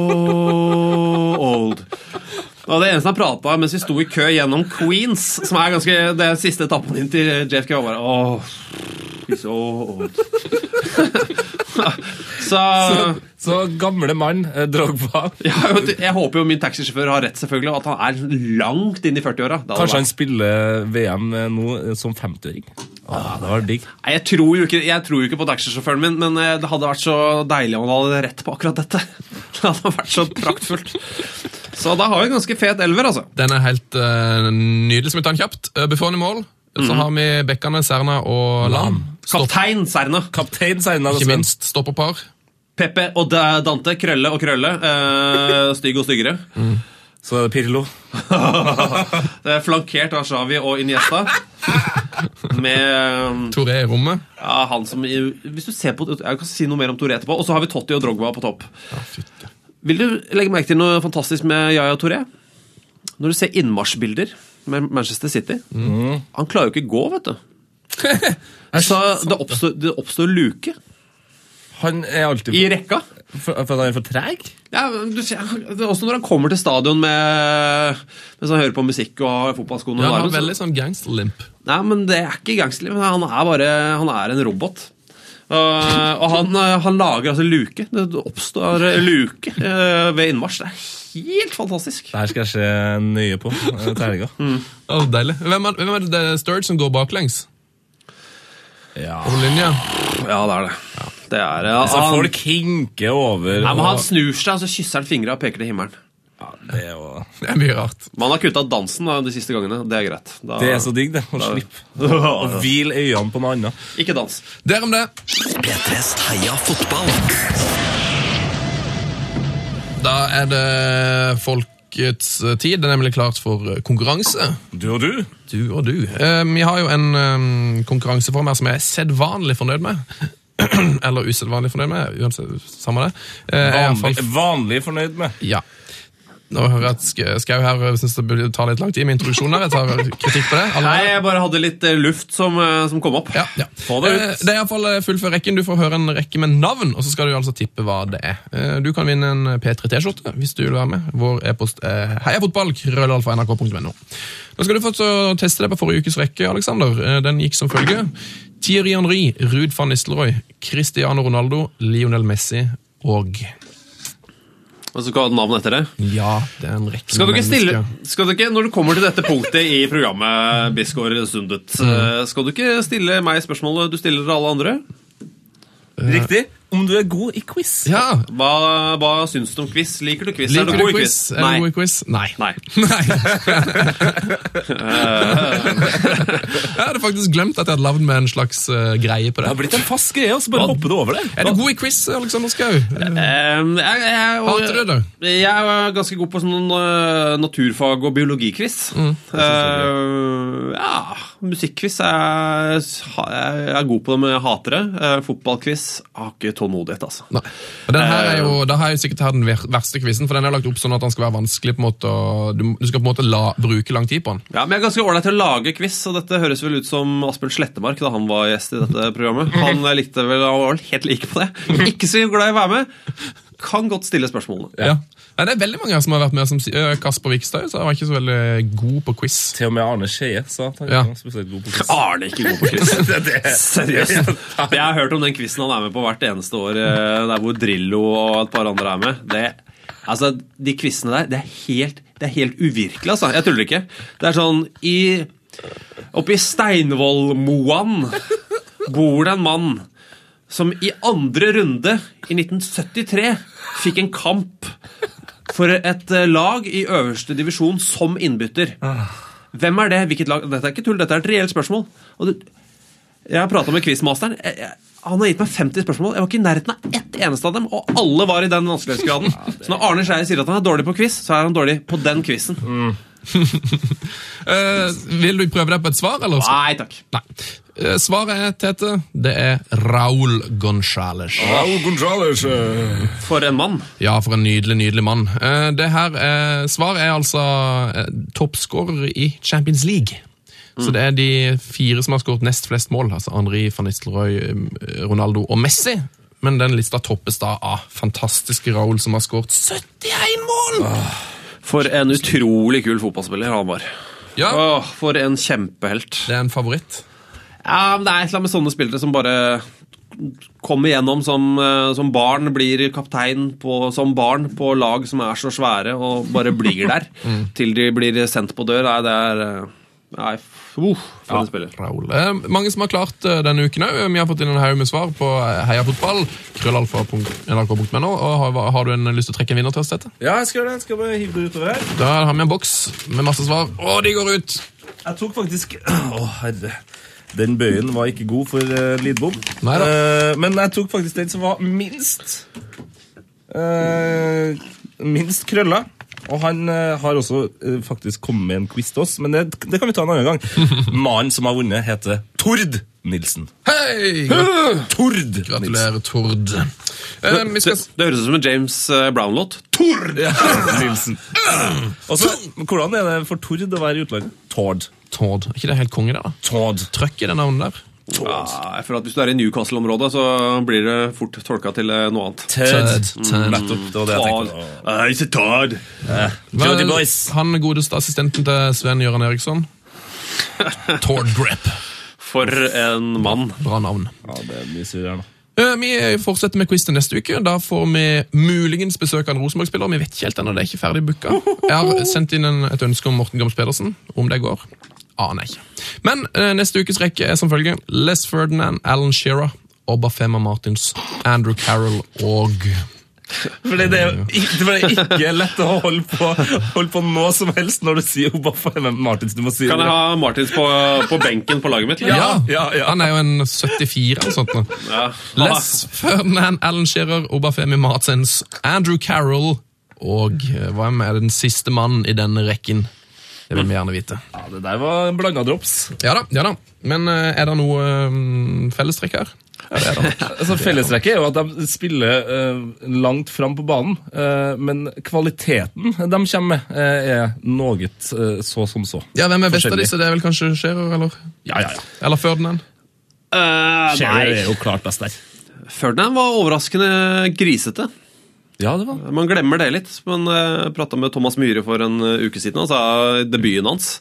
old. Og det eneste han pratet på mens vi sto i kø gjennom Queens, som er ganske det er siste etappen din til eh, JFK, var bare åh, he's so old. så
Så gamle mann, eh, Drogba
ja, vet du, Jeg håper jo min taxisjåfør har rett, selvfølgelig, og at han er langt inn i 40-åra. Det hadde
Kanskje
vært-
han spiller VM nå eh, som 50-åring? Ah, det var digg.
Nei, jeg tror jo ikke, jeg tror jo ikke på taxisjåføren min, men eh, det hadde vært så deilig om han hadde rett på akkurat dette. Det hadde vært så praktfullt. Så da har vi en ganske fet elver, altså.
Den er helt eh, nydelig. Skal vi ta den kjapt? Uh, Buffon i mål.
Mhm.
Så har vi Bekkane, Serna og Lam. Stopp,
Kaptein Serna.
Kaptein altså. Serna
ikke minst stopperpar.
Peppe og Da- Dante. Krølle og Krølle. Eh, stygg og styggere.
Så er det Pirlo.
Det er flankert av Xavi og Iniesta. Med eh,
Toré i rommet.
ja, han som i- Hvis du ser på Jeg kan si noe mer om Touré etterpå. Og så har vi Totti og Drogba på topp.
Ja, fytte.
Vil du legge merke til noe fantastisk med Yaya Touré? Når du ser innmarsjbilder med Manchester City Han klarer jo ikke å gå, vet du. Så det oppstår, det oppstår luke
Han er alltid
i rekka.
for, for at han er for treg?
Ja, men du ser, det er også når han kommer til stadion med, mens han hører på musikk og har fotballskoene
Ja,
under
han har
armen, så-
veldig sånn gangsterlimp.
Nei, men det er ikke gangsterliv. Han er bare Han er en robot. Eh, og han, eh, han lager altså luke. Det oppstår eh, luke eh, ved innmarsj. Det er helt fantastisk.
Det her skal jeg se nøye på eh, til helga.
Å, deilig. Hvem er, hvem er det Sturge som går baklengs?
Ja.
På linja?
Ja, det er det. Det er eh,
Så
han,
folk hinker over.
Nei, men
og-
han snur seg, og så kysser han fingra og peker til himmelen.
ja, det, er jo,
Det er mye rart.
Man har kutta dansen da, de siste gangene. Det er greit. Da,
det er så digg, det. Å slippe å hvile øynene på noe annet.
Ikke dans.
Der om det.
P3s Heia fotball.
Da er det folkets eh, tid. Det er nemlig klart for eh, konkurranse.
Du og du.
Du og du. Eh, Vi har jo en eh, konkurranse for meg som jeg er sedvanlig fornøyd med. Eller usedvanlig fornøyd med. Uansett, samme det. Eh, jeg er i hvert fall-
Vanlig, vanlig fornøyd med.
Ja. Nå hører jeg at Sk- Skau her syns det burde ta litt lang tid med introduksjonen. her. Jeg tar kritikk på det. allerede.
Nei, jeg bare hadde litt eh, luft som, eh, som kom opp.
Ja, ja.
Få det ut.
Eh, Det er iallfall fullfør rekken. Du får høre en rekke med navn, og så skal du altså tippe hva det er. Eh, Du kan vinne en P3T-skjorte hvis du vil være med. Vår e-post er heiafotball.krøllalfa.nrk.no. Nå skal du få til å teste deg på forrige ukes rekke, Alexander. Eh, Den gikk som følge. Thierry Henry, Ruud van Nistelrooy, Cristiano Ronaldo, Lionel Messi og
Og så skal du ha navn etter det.
Ja, det er en rekke
Skal du ikke stille,
mennesker.
skal du ikke, Når du kommer til dette punktet i programmet, Bisgaard Sundet, eh, skal du ikke stille meg spørsmålet du stiller alle andre?
Riktig. Om du er god i quiz.
Ja,
Hva, hva syns du om quiz? Liker du quiz?
Liker
er du god i quiz?
Er du god i quiz? Nei.
Nei.
Jeg hadde faktisk glemt at jeg hadde lagd med en slags eh, greie på
Det
det.
har blitt en fast greie, og så bare hopper du over det.
Er du god i quiz, Alexander Skau?
Um, jeg, jeg, og,
Hater du det?
jeg er ganske god på sånn eh, naturfag- og biologiquiz. Eh, ja, musikkquiz er jeg er god på det, men jeg hater det. Eh, fotballquiz jeg har ikke tålmodighet, altså.
Nei. Og den her er jo, da har jeg jo sikkert her den ver- verste quizen, for den er lagt opp sånn at den skal være vanskelig på en måte, og du, du skal på en måte la, bruke lang tid på den.
Ja, men Jeg er ganske ålreit til å lage quiz, og dette høres vel ut som Asbjørn Slettemark da han var gjest i dette programmet. Han likte vel, han var vel helt like på det. Ikke så glad i å være med. Kan godt stille spørsmålene.
Ja. Nei, det er veldig mange her som har vært med som sier øh, Kasper Vikstad, så han var ikke så veldig god på quiz.
Til og med Arne Skeie sa at han
Ja.
ikke var spesielt god på quiz.
Arne er ikke god på quiz.
Det, det.
Seriøst. Jeg har hørt om den quizen han er med på hvert eneste år, eh, der hvor Drillo og et par andre er med. Det, altså, De quizene der, det er helt, det er helt uvirkelig, altså. Jeg tuller ikke. Det er sånn i Oppe i Steinvollmoan bor det en mann som i andre runde i 1973 fikk en kamp for et eh, lag i øverste divisjon som innbytter.
Ah.
Hvem er det? Hvilket lag? Dette er ikke tull, dette er et reelt spørsmål. Og det, jeg har prata med quizmasteren. Jeg, jeg, han har gitt meg 50 spørsmål. Jeg var ikke i nærheten av ett eneste av dem, og alle var i den vanskelighetsgraden. Så når Arne Skeier sier at han er dårlig på quiz, så er han dårlig på den quizen.
Eh, vil du prøve deg på et svar, eller?
Nei takk.
Nei. Eh, svaret er, Tete, det er Raul Gonzales.
Ah,
For en mann.
Ja, for en nydelig, nydelig mann. Eh, Det her eh, svaret er altså eh, toppskårer i Champions League. Så det er de fire som har skåret nest flest mål. altså Henri, van Nistelrooy, eh, Ronaldo og Messi. Men den lista toppes da av fantastiske Raúl, som har skåret 71 mål!
For en utrolig kul fotballspiller han var.
Ja,
Åh, for en kjempehelt.
Det er en favoritt.
Ja, men Det er et eller annet med sånne spillere som bare kommer gjennom som, eh, som barn, blir kaptein på, som barn på lag som er så svære, og bare blir der
Mm.
til de blir sendt på dør. Nei, det er eh, Nei, f- uff, for en spiller.
Raul. Eh, mange som har klart eh, denne uken òg. Vi har fått inn en haug med svar på eh, heiafotball. Krøllalfa.nrk.no. Og har, har du en eh, lyst til å trekke en vinner til oss, Tete?
Ja, jeg skal gjøre det. Jeg skal bare hive det utover her.
Da har vi en boks med masse svar, og de går ut!
Jeg tok faktisk Å, herre. Den bøyen var ikke god for eh, Lidbom.
Neida.
Eh, men jeg tok faktisk den som var minst eh, Minst krølla. Og han eh, har også eh, faktisk kommet med en quiz til oss, men det, det kan vi ta en annen gang. Mannen som har vunnet, heter Tord Nilsen.
Hei!
Tord Nilsen.
Gratulerer, Tord. Eh, vi
Det,
skal...
det høres ut som en James eh, Brown-låt. Tord!
Nilsen. Og så, hvordan er det for Tord å være i utlandet? Tord.
Tord. Er ikke det helt konge, det? da?
Tord.
Trøkk i det navnet der.
Ja, jeg føler at Hvis du er i Newcastle-området, så blir det fort tolka til eh, noe annet.
Tord.
Tord. Tord.
Nettopp. Det var det jeg tenkte. Åh.
Ah, it's a Tord.
Jody
Vel,
Boys.
Han godeste assistenten til Sven Gøran Eriksson. Tord Grep.
For en mann.
Bra navn.
Ja, det er mye surr her nå.
Eh, Vi fortsetter med quiz til neste uke. Da får vi muligens besøk av en Rosenborg-spiller. Vi vet ikke helt ennå, det er ikke ferdig booka. Jeg har sendt inn en, et ønske om Morten Gams Pedersen. Om det går, aner jeg ikke. Men eh, neste ukes rekke er som følger Les Ferdinand, Alan Shearer, Obafema Martins, Andrew Carroll og
Fordi det, er, det er ikke lett å holde på, holde på noe som helst når du sier Obafemi Martins. Du må si
Kan
det.
jeg ha Martins på, på benken på laget mitt? eller?
Ja,
ja, ja.
Han er jo en 74 eller sånt. nå.
Ja.
Les Ferdinand, Alan Shearer, Obafemi Martins, Andrew Carroll og eh, hva med er den siste mannen i denne rekken? Det vil vi gjerne vite.
Ja, det der var en blanda drops.
Ja da, ja da. Men eh, er det noe eh, fellestrekk her? Ja, det er det. nok.
Altså, Fellestrekket er jo at de spiller eh, langt fram på banen, eh, men kvaliteten de kommer med, eh, er noe eh, så som så.
Ja, Hvem er best av
Forskjellig.
disse? Det er vel kanskje Shearer eller,
Ja, ja, ja.
eller Ferdinand?
Eh,
Shearer er jo klart best der.
Ferdinand var overraskende grisete.
Ja, det var
Man glemmer det litt. Man uh, prata med Thomas Myhre for en eh, uke siden. Han sa debuten hans.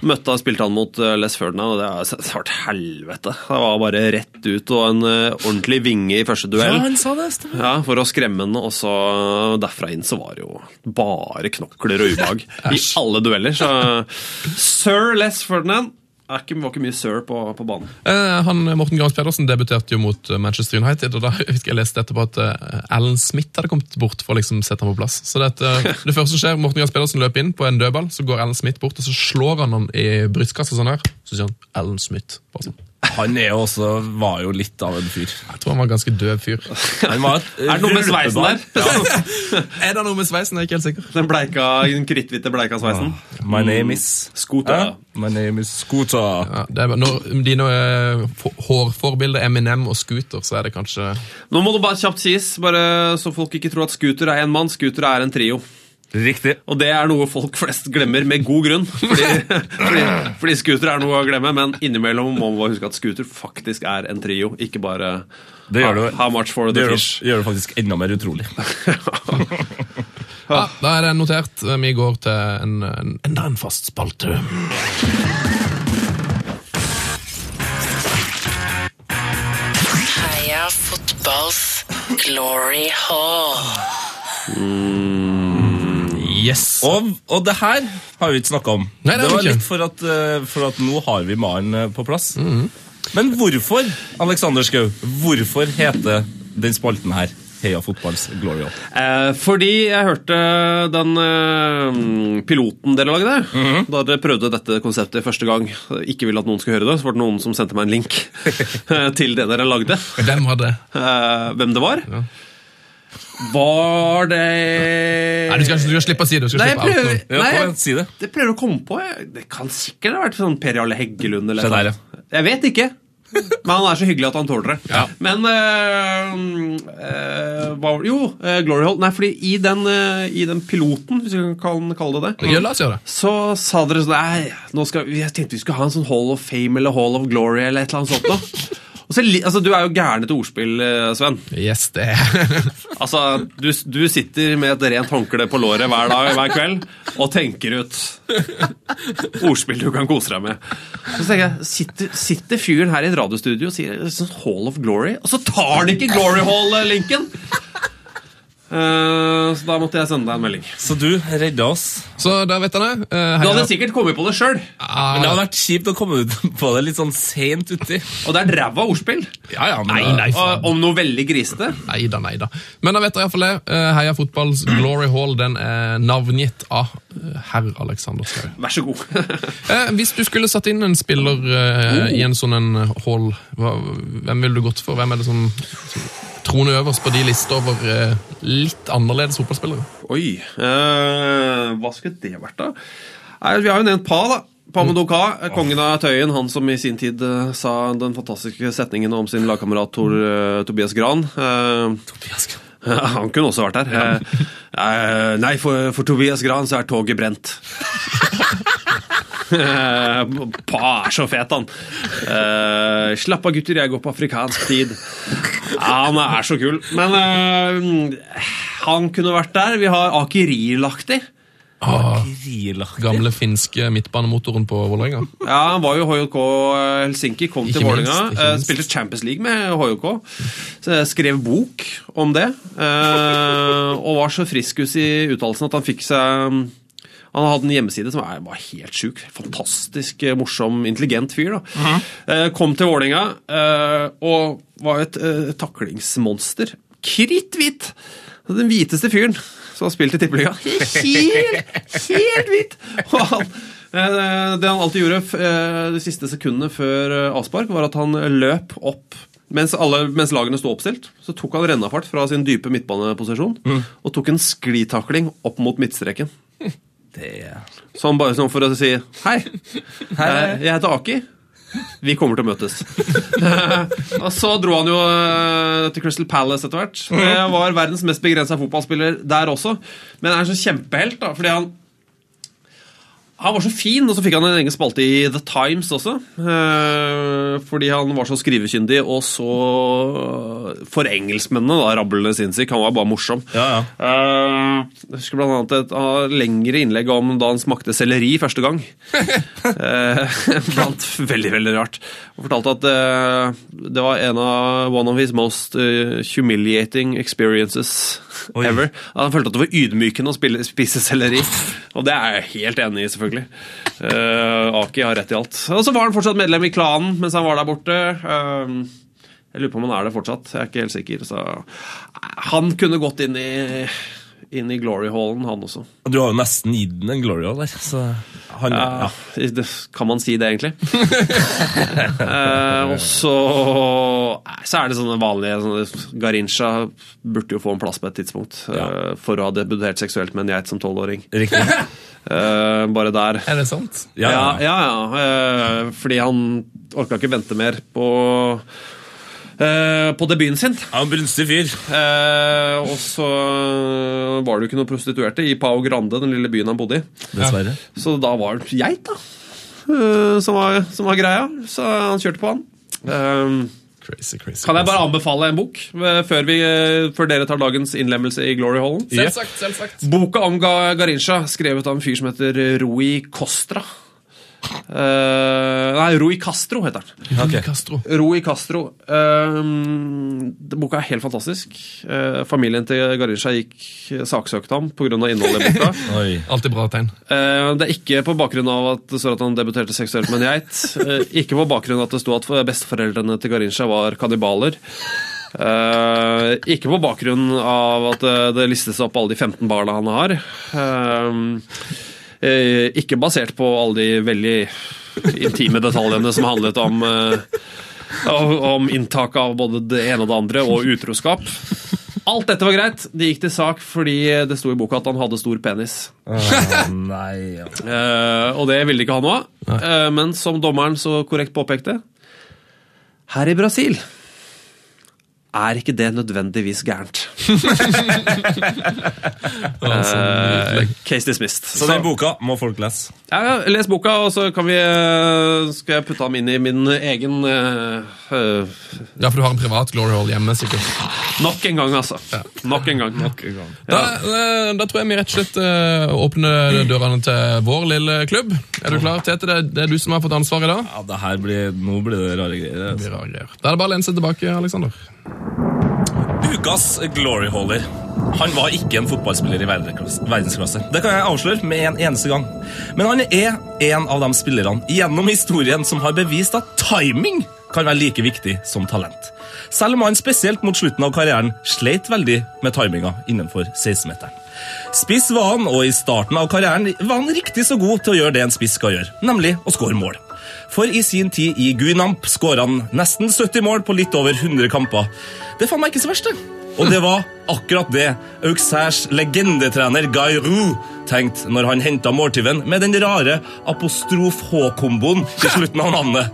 Møtte han, spilte han mot eh, Les Ferdinand, og det er- det var et helvete. Det var bare rett ut og en eh, ordentlig vinge i første
ja,
duell.
han sa det. stemmer.
Ja, For å skremme han, og så eh, derfra inn så var det jo bare knokler og ubehag i alle dueller. Så sir Les Ferdinand er ikke, var ikke mye sir på, på banen.
Eh, han, Morten Grams Pedersen debuterte jo mot eh, Manchester United, og da husker jeg leste etterpå at eh, Alan Smith hadde kommet bort for å liksom sette ham på plass. Så det, at, eh, det første som skjer, Morten Grams Pedersen løper inn på en dødball, så går Alan Smith bort, og så slår han ham i brystkassa sånn her. Så sier han Alan Smith. Bare sånn.
Han er jo også, var jo litt av en fyr.
Jeg tror han var en ganske døv fyr.
Han var et
Er det noe med sveisen der?
er det noe med sveisen? Jeg er ikke helt sikker.
Den bleika, den kritthvite bleika sveisen.
My name is
Scooter.
Ja, My name is Scooter.
Ja, det er, bare- når dine eh, for- hårforbilder Eminem og Scooter, så er det kanskje
Nå må det bare kjapt sies, bare så folk ikke tror at scooter er en mann. Scooter er en trio.
Riktig.
Og det er noe folk flest glemmer, med god grunn. Fordi, fordi, fordi scooter er noe å glemme, men innimellom må man bare huske at scooter faktisk er en trio, ikke bare
Det gjør det.
How much for
Det
the
gjør,
fish?
det gjør det faktisk enda mer utrolig.
ja, Da er det notert. eh, Vi går til en, en, enda en fast spalte.
Heia fotballs glory hall.
Yes!
Og, og det her har vi ikke snakka om.
Nei, det har vi
var
ikke.
litt for at, eh, for at nå har vi Maren eh, på plass. Men hvorfor, Alexander Schou, hvorfor heter den spalten her Heia fotballs glory hall?
Eh, fordi jeg hørte den eh, piloten dere lagde,
Mhm.
da dere prøvde dette konseptet første gang, ikke ville at noen skulle høre det, så var det noen som sendte meg en link eh, til det dere lagde.
Hvem var det?
Eh, hvem det var. Var det
Nei, du skal, du skal slippe å si det. Du skal
Nei, jeg
slippe
prøver,
outdoor.
Ja,
nei,
kom
jeg,
igjen, si det.
det prøver å komme på. Jeg. Det kan sikkert ha vært sånn Per Jarle Heggelund eller
Se der,
noe. Jeg vet ikke. Men han er så hyggelig at han tåler det.
Ja.
Men øh, øh, hva var det? Jo, øh, Glory Hall. Nei, fordi i den, øh, i den piloten, hvis vi kan kalle det det
Ja, la oss gjøre det.
så sa dere sånn Nei, nå skal, vi- jeg tenkte vi skulle ha en sånn Hall of Fame eller Hall of Glory eller et eller annet sånt noe. Og så, li- altså, du er jo gæren etter ordspill, eh, Sven.
Yes, det er
Altså, du, du sitter med et rent håndkle på låret hver dag hver kveld og tenker ut ordspill du kan kose deg med. Så tenker jeg, Sitter, sitter fyren her i et radiostudio og sier sånn Hall of Glory, og så tar han ikke Glory Hall-linken! Eh, så da måtte jeg sende deg en melding.
Så du redda oss.
Så da vet han det. Eh,
Du
heia-
hadde sikkert kommet på det sjøl,
Men det
Ah,
hadde vært kjipt å komme ut på det litt sånn seint uti.
og det er et ræva ordspill.
Ja, ja, men
Nei,
da-
nei, faen.
Og, om noe veldig grisete.
Nei da, nei da. Men da vet dere iallfall det. Eh, Heia fotballs Glory Hall den er navngitt av eh, herr Alexander Schou.
Vær så god.
Eh, hvis du skulle satt inn en spiller eh,
Oh.
i en sånn en hall, hva, hvem ville du gått for? Hvem er det som, som troner øverst på de listene over eh, litt annerledes fotballspillere?
Oi, eh, hva skulle det vært, da? Nei, vi har jo nevnt Pa, da. Pamodoka, kongen av Tøyen, han som i sin tid eh, sa den fantastiske setningen om sin lagkamerat Tor, eh, Tobias Gran. Eh, han kunne også vært her. Eh, eh, nei, for, for Tobias Gran så er toget brent. Eh, pa er så fet, han. Eh, slapp av, gutter, jeg går på afrikansk tid. Ja, han er så kul. Men eh, han kunne vært der. Vi har Aki Rielaktig.
Ah,
Rilaktig.
gamle finske midtbanemotoren på Vålerenga.
Ja, han var jo HJK eh, Helsinki, kom
Ikke
til
minst,
Vålerenga.
ikke
eh,
minst.
Spilte Champions League med HJK. så jeg Skrev bok om det. eh, Og var så friskus i uttalelsen at han fikk seg mm, han hadde en hjemmeside som er- var helt sjuk. Fantastisk eh, morsom, intelligent fyr. da.
Mhm.
Eh, Kom til Vålerenga eh, og var et eh, taklingsmonster. Kritthvit! Den hviteste fyren som har spilt i Tippeligaen. Helt, helt hvit! Og han, eh, det han alltid gjorde f- eh, de siste sekundene før eh, avspark, var at han løp opp mens, alle, mens lagene sto oppstilt, så tok han rennafart fra sin dype midtbaneposisjon og tok en sklitakling opp mot midtstreken. Sånn bare sånn for å si Hei, eh, jeg heter Aki. Vi kommer til å møtes. Eh, og så dro han jo eh, til Crystal Palace etter hvert. Eh, var verdens mest begrensa fotballspiller der også, men er en sånn kjempehelt, da, fordi han han var så fin, og så fikk han en egen spalte i The Times også. eh, Fordi han var så skrivekyndig og så eh, For engelskmennene, da, rablende sinnssyk. Han var bare morsom.
Ja, ja.
Eh, jeg husker blant annet et ah, lengre innlegg om da han smakte selleri første gang. Eh, blant veldig, veldig rart. Han fortalte at eh, det var en av one of his most eh, humiliating experiences ever. Han følte at det var ydmykende å spille, spise selleri. Og det er jeg helt enig i, selvfølgelig. Eh, Aki har rett i alt. Og så var han fortsatt medlem i klanen mens han var der borte. Eh, jeg lurer på om han er det fortsatt. Jeg er ikke helt sikker. Så han kunne gått inn i, inn i Glory Hallen, han også.
Du har jo nesten gitt den en glory hall der. Så han, ja.
Ja. det- Kan man si det, egentlig? eh, og så eh, Så er det sånne vanlige sånne, Garincha burde jo få en plass på et tidspunkt. eh, for å ha debutert seksuelt med en geit som tolvåring.
Riktig.
Eh, bare der.
Er det sant?
Ja, ja.
Ja, ja, ja. Eh, fordi han orka ikke vente mer på eh, på debuten sin.
Han er en brunstig fyr.
Eh, og så var det jo ikke noen prostituerte i Pao Grande, den lille byen han bodde i.
Dessverre.
Så da var det geit, da, eh, som, var, som var greia. Så han kjørte på han. Eh,
Crazy, crazy.
kan jeg bare anbefale en bok eh, før, vi, eh, før dere tar dagens innlemmelse i Glory Hallen?
Selvsagt, selvsagt.
Boka om Ga- Garincha, skrevet av en fyr som heter Rui Costra. Eh, nei, Rui Castro heter han.
Rui Castro.
Rui Castro. ehm, det- boka er helt fantastisk. Eh, familien til Garincha gikk saksøkte ham pga. innholdet i boka.
Oi.
Alltid bra tegn.
Eh, det er ikke på bakgrunn av at det står at han debuterte seksuelt med en geit. Eh, ikke på bakgrunn av at det sto at besteforeldrene til Garincha var kannibaler. Eh, ikke på bakgrunn av at eh, det listes opp alle de 15 barna han har. Eh, eh, ikke basert på alle de veldig intime detaljene som handlet om eh, om om inntak av både det ene og det andre, og utroskap. Alt dette var greit. Det gikk til sak fordi det sto i boka at han hadde stor penis.
Nei, ja.
Eh, og det ville de ikke ha noe av. Eh, men som dommeren så korrekt påpekte Her i Brasil er ikke det nødvendigvis gærent.
altså,
Eh, case dismissed.
Så den boka må folk lese.
Ja, ja, les boka, og så kan vi, eh, skal jeg putte ham inn i min egen eh, eh,
Ja, for du har en privat glory hall hjemme, sikkert.
Nok en gang, altså. Nok en gang.
Da, eh, da tror jeg vi rett og slett eh, åpner dørene til vår lille klubb. Er du klar, Tete? Det er, det er du som har fått ansvaret i dag.
Ja, det her blir, Nå blir det rare greier.
Det
Altså.
blir rare greier. Da er det bare å lene seg tilbake, Alexander.
Ukas gloryholder. Han var ikke en fotballspiller i verdensklasse. verdensklasse. Det kan jeg avsløre med en eneste gang. Men han er en av de spillerne gjennom historien som har bevist at timing kan være like viktig som talent. Selv om han spesielt mot slutten av karrieren sleit veldig med timinga innenfor 16-meteren. Spiss var han, og i starten av karrieren var han riktig så god til å gjøre det en spiss skal gjøre, nemlig å skåre mål. For i sin tid i Guinamp skåra han nesten 70 mål på litt over 100 kamper. Det er faen meg ikke så verst, det. Og det var akkurat det Auxerres legendetrener Guy Roux tenkte når han henta måltyven med den rare apostrof H-komboen i slutten av navnet.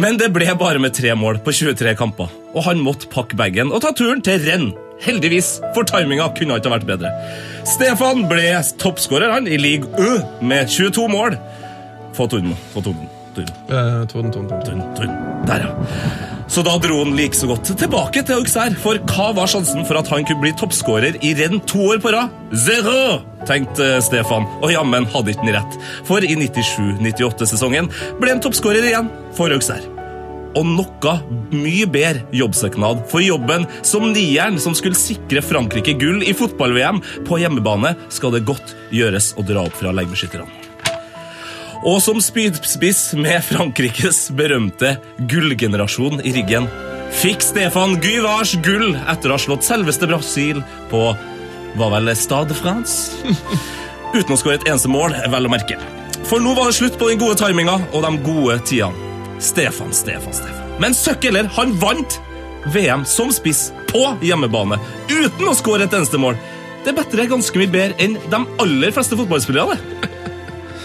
Men det ble bare med tre mål på 23 kamper, og han måtte pakke bagen og ta turen til renn. Heldigvis, for timinga kunne ikke ha vært bedre. Stefan ble toppskårer han i league U med 22 mål. Få torden, få torden, torden.
Eh, Torden, torden, torden.
Tun, tun. Der, ja. Så da dro han like så godt tilbake til Auxerre, for hva var sjansen for at han kunne bli toppskårer i renn to år på rad? Zero! tenkte Stefan, og jammen hadde ikke han rett. For i 97-98-sesongen ble han toppskårer igjen for Auxerre og noe mye bedre jobbsøknad for jobben som nieren som skulle sikre Frankrike gull i fotball-VM. På hjemmebane skal det godt gjøres å dra opp fra legbeskytterne. Og som spydspiss med Frankrikes berømte gullgenerasjon i ryggen fikk Stefan Gyvars gull etter å ha slått selveste Brasil på var vel Stade France? uten å skåre et eneste mål, vel å merke. For nå var det slutt på den gode timinga og de gode tidene. Stefan, Stefan, Stefan. Men Søkkeler, han vant VM som spiss på hjemmebane uten å skåre et eneste mål. Det bedrer ganske mye bedre enn de aller fleste fotballspillere. det.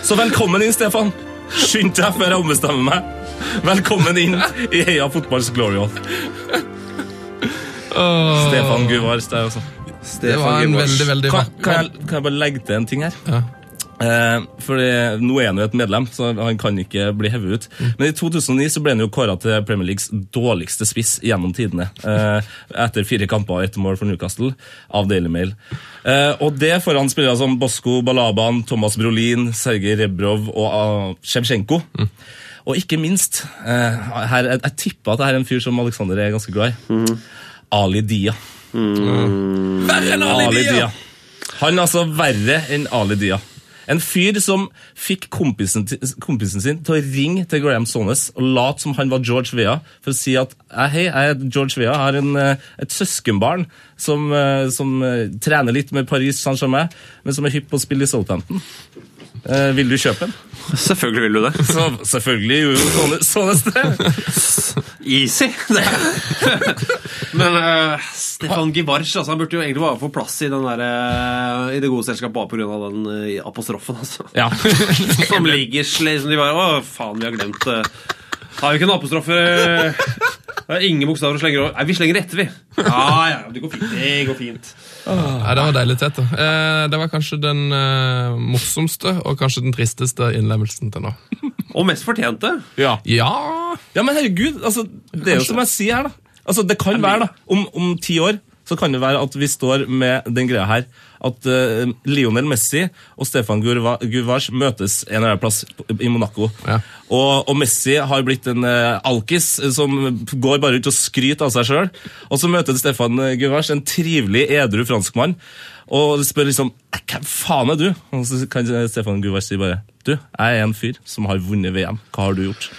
Så velkommen inn, Stefan. Skynd deg før jeg ombestemmer meg. Velkommen inn i Heia fotballs glory hall. Stefan Guvars der, altså.
Det var en veldig, veldig
Kan, kan, jeg, kan jeg bare legge til en ting her?
Ja.
Eh, for det, nå er han jo et medlem, så han kan ikke bli hevet ut.
Mm.
Men i 2009 så ble han jo kåra til Premier Leagues dårligste spiss gjennom tidene. Eh, etter fire kamper og ett mål for Newcastle av Daily Mail. Eh, og det foran spillere som Bosko Balaban, Thomas Brolin, Sergej Rebrov og ah, Shevchenko.
Mm.
Og ikke minst eh, her, Jeg, jeg tipper at det her er en fyr som Alexander er ganske glad i. Ali Dia. Mm. Verre enn Ali Dia! Han er altså verre enn Ali Dia. En fyr som fikk kompisen, ti- kompisen sin til å ringe til Graham Sonnes og late som han var George Vea, for å si at «Eh, hei, jeg er George Vea, jeg har en, eh, et søskenbarn som, eh, som eh, trener litt med Paris Saint-Germain, men som er hypp på å spille i Southampton. Eh, vil du kjøpe en?
Selvfølgelig vil du det.
Så selvfølgelig gjorde jo Sonnes- Sonnes det.
Easy. Men eh, Stefan Givarch altså, han burde jo egentlig bare få plass i, den der, eh, i det gode selskap bare pga. den eh, apostrofen. Altså.
Ja.
Som ligger slik som de bare Å, faen, vi har glemt det. Har vi ikke en apostrofe? Det er ingen bokstaver å slenge over. Nei, vi slenger etter, vi. Ja, ja, det går fint. Det går fint.
Nei, det var deilig, Tete. Eh, det var kanskje den eh, morsomste og kanskje den tristeste innlemmelsen til nå.
Og mest fortjente.
ja.
Ja
Ja, men herregud, altså, det er jo som jeg sier her, da. Altså, det kan være, da, om, om ti år, så kan det være at vi står med den greia her, at eh, Lionel Messi og Stefan Gurva- Guvars møtes en eller annen plass i Monaco.
Ja.
Og, og Messi har blitt en eh, alkis eh, som går bare ut og skryter av seg sjøl. Og så møter Stefan eh, Guvars en trivelig, edru franskmann. Og spør liksom «Eh, 'Hvem faen er du?' Og så kan Stefan Guvars si bare 'Du, jeg er en fyr som har vunnet VM. Hva har du gjort?'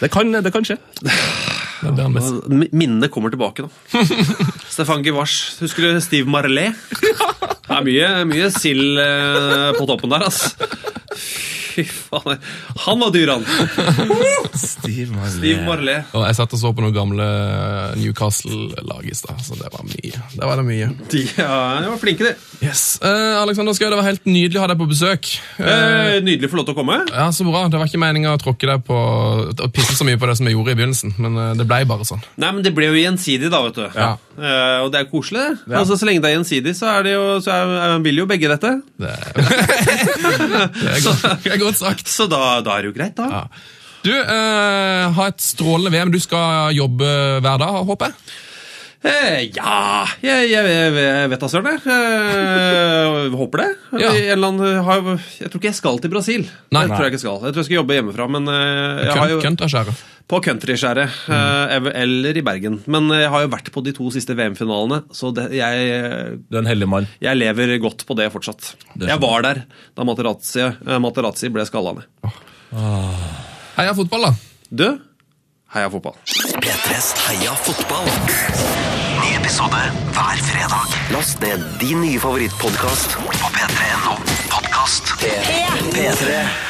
Det kan, det kan skje.
Det blir han best.
Altså, Mi- Minnene kommer tilbake, da. Stefan Givarch. Husker du Steve Marley? Det er mye, mye sild eh, på toppen der, altså. Fy faen, han var dyr, han!
Steve Marley.
Liv Marley.
Og jeg satt og så på noen gamle eh, Newcastle-lag i stad, så det var mye. Det var det mye.
De, ja, de var flinke, de.
Yes. Eh, Alexander Skøy, det var helt nydelig å ha deg på besøk. Eh,
Eh, nydelig å få lov til å komme.
ja, så bra. Det var ikke meninga å tråkke deg på Å pisse så mye på det som jeg gjorde i begynnelsen, men eh, det ble bare sånn.
Nei, men Det ble jo gjensidig, da. vet du
Ja.
Eh, Og det er koselig. det. Altså, Så lenge det er gjensidig, så, er det jo, så er, eh, vil jo begge dette.
Det, det, er, godt, det er godt sagt.
Så da, da er det jo greit, da.
Ja. Du, eh, ha et strålende VM. Du skal jobbe hver dag, håper jeg?
Eh, ja Jeg, jeg, jeg, jeg vet da søren, jeg. Eh, håper det.
Ja.
Jeg, en eller annen, har, jeg tror ikke jeg skal til Brasil.
Nei.
det tror jeg ikke skal. Jeg tror jeg skal jobbe hjemmefra. Men eh, jeg
Kønt,
har jo,
kønt Mm. er skjæret.
på countryskjæret. eh, ev- eller i Bergen. Men eh, jeg har jo vært på de to siste VM-finalene, så det, jeg,
Du er en heldig mann.
jeg lever godt på det fortsatt.
Det skjønner
jeg var der da Materazzi, eh, Materazzi ble skalla ned.
Heia fotball, da.
Du, heia fotball.
P3s Heia fotball. Ny episode hver fredag. Last ned din nye favorittpodkast på p3.no podkast. P3.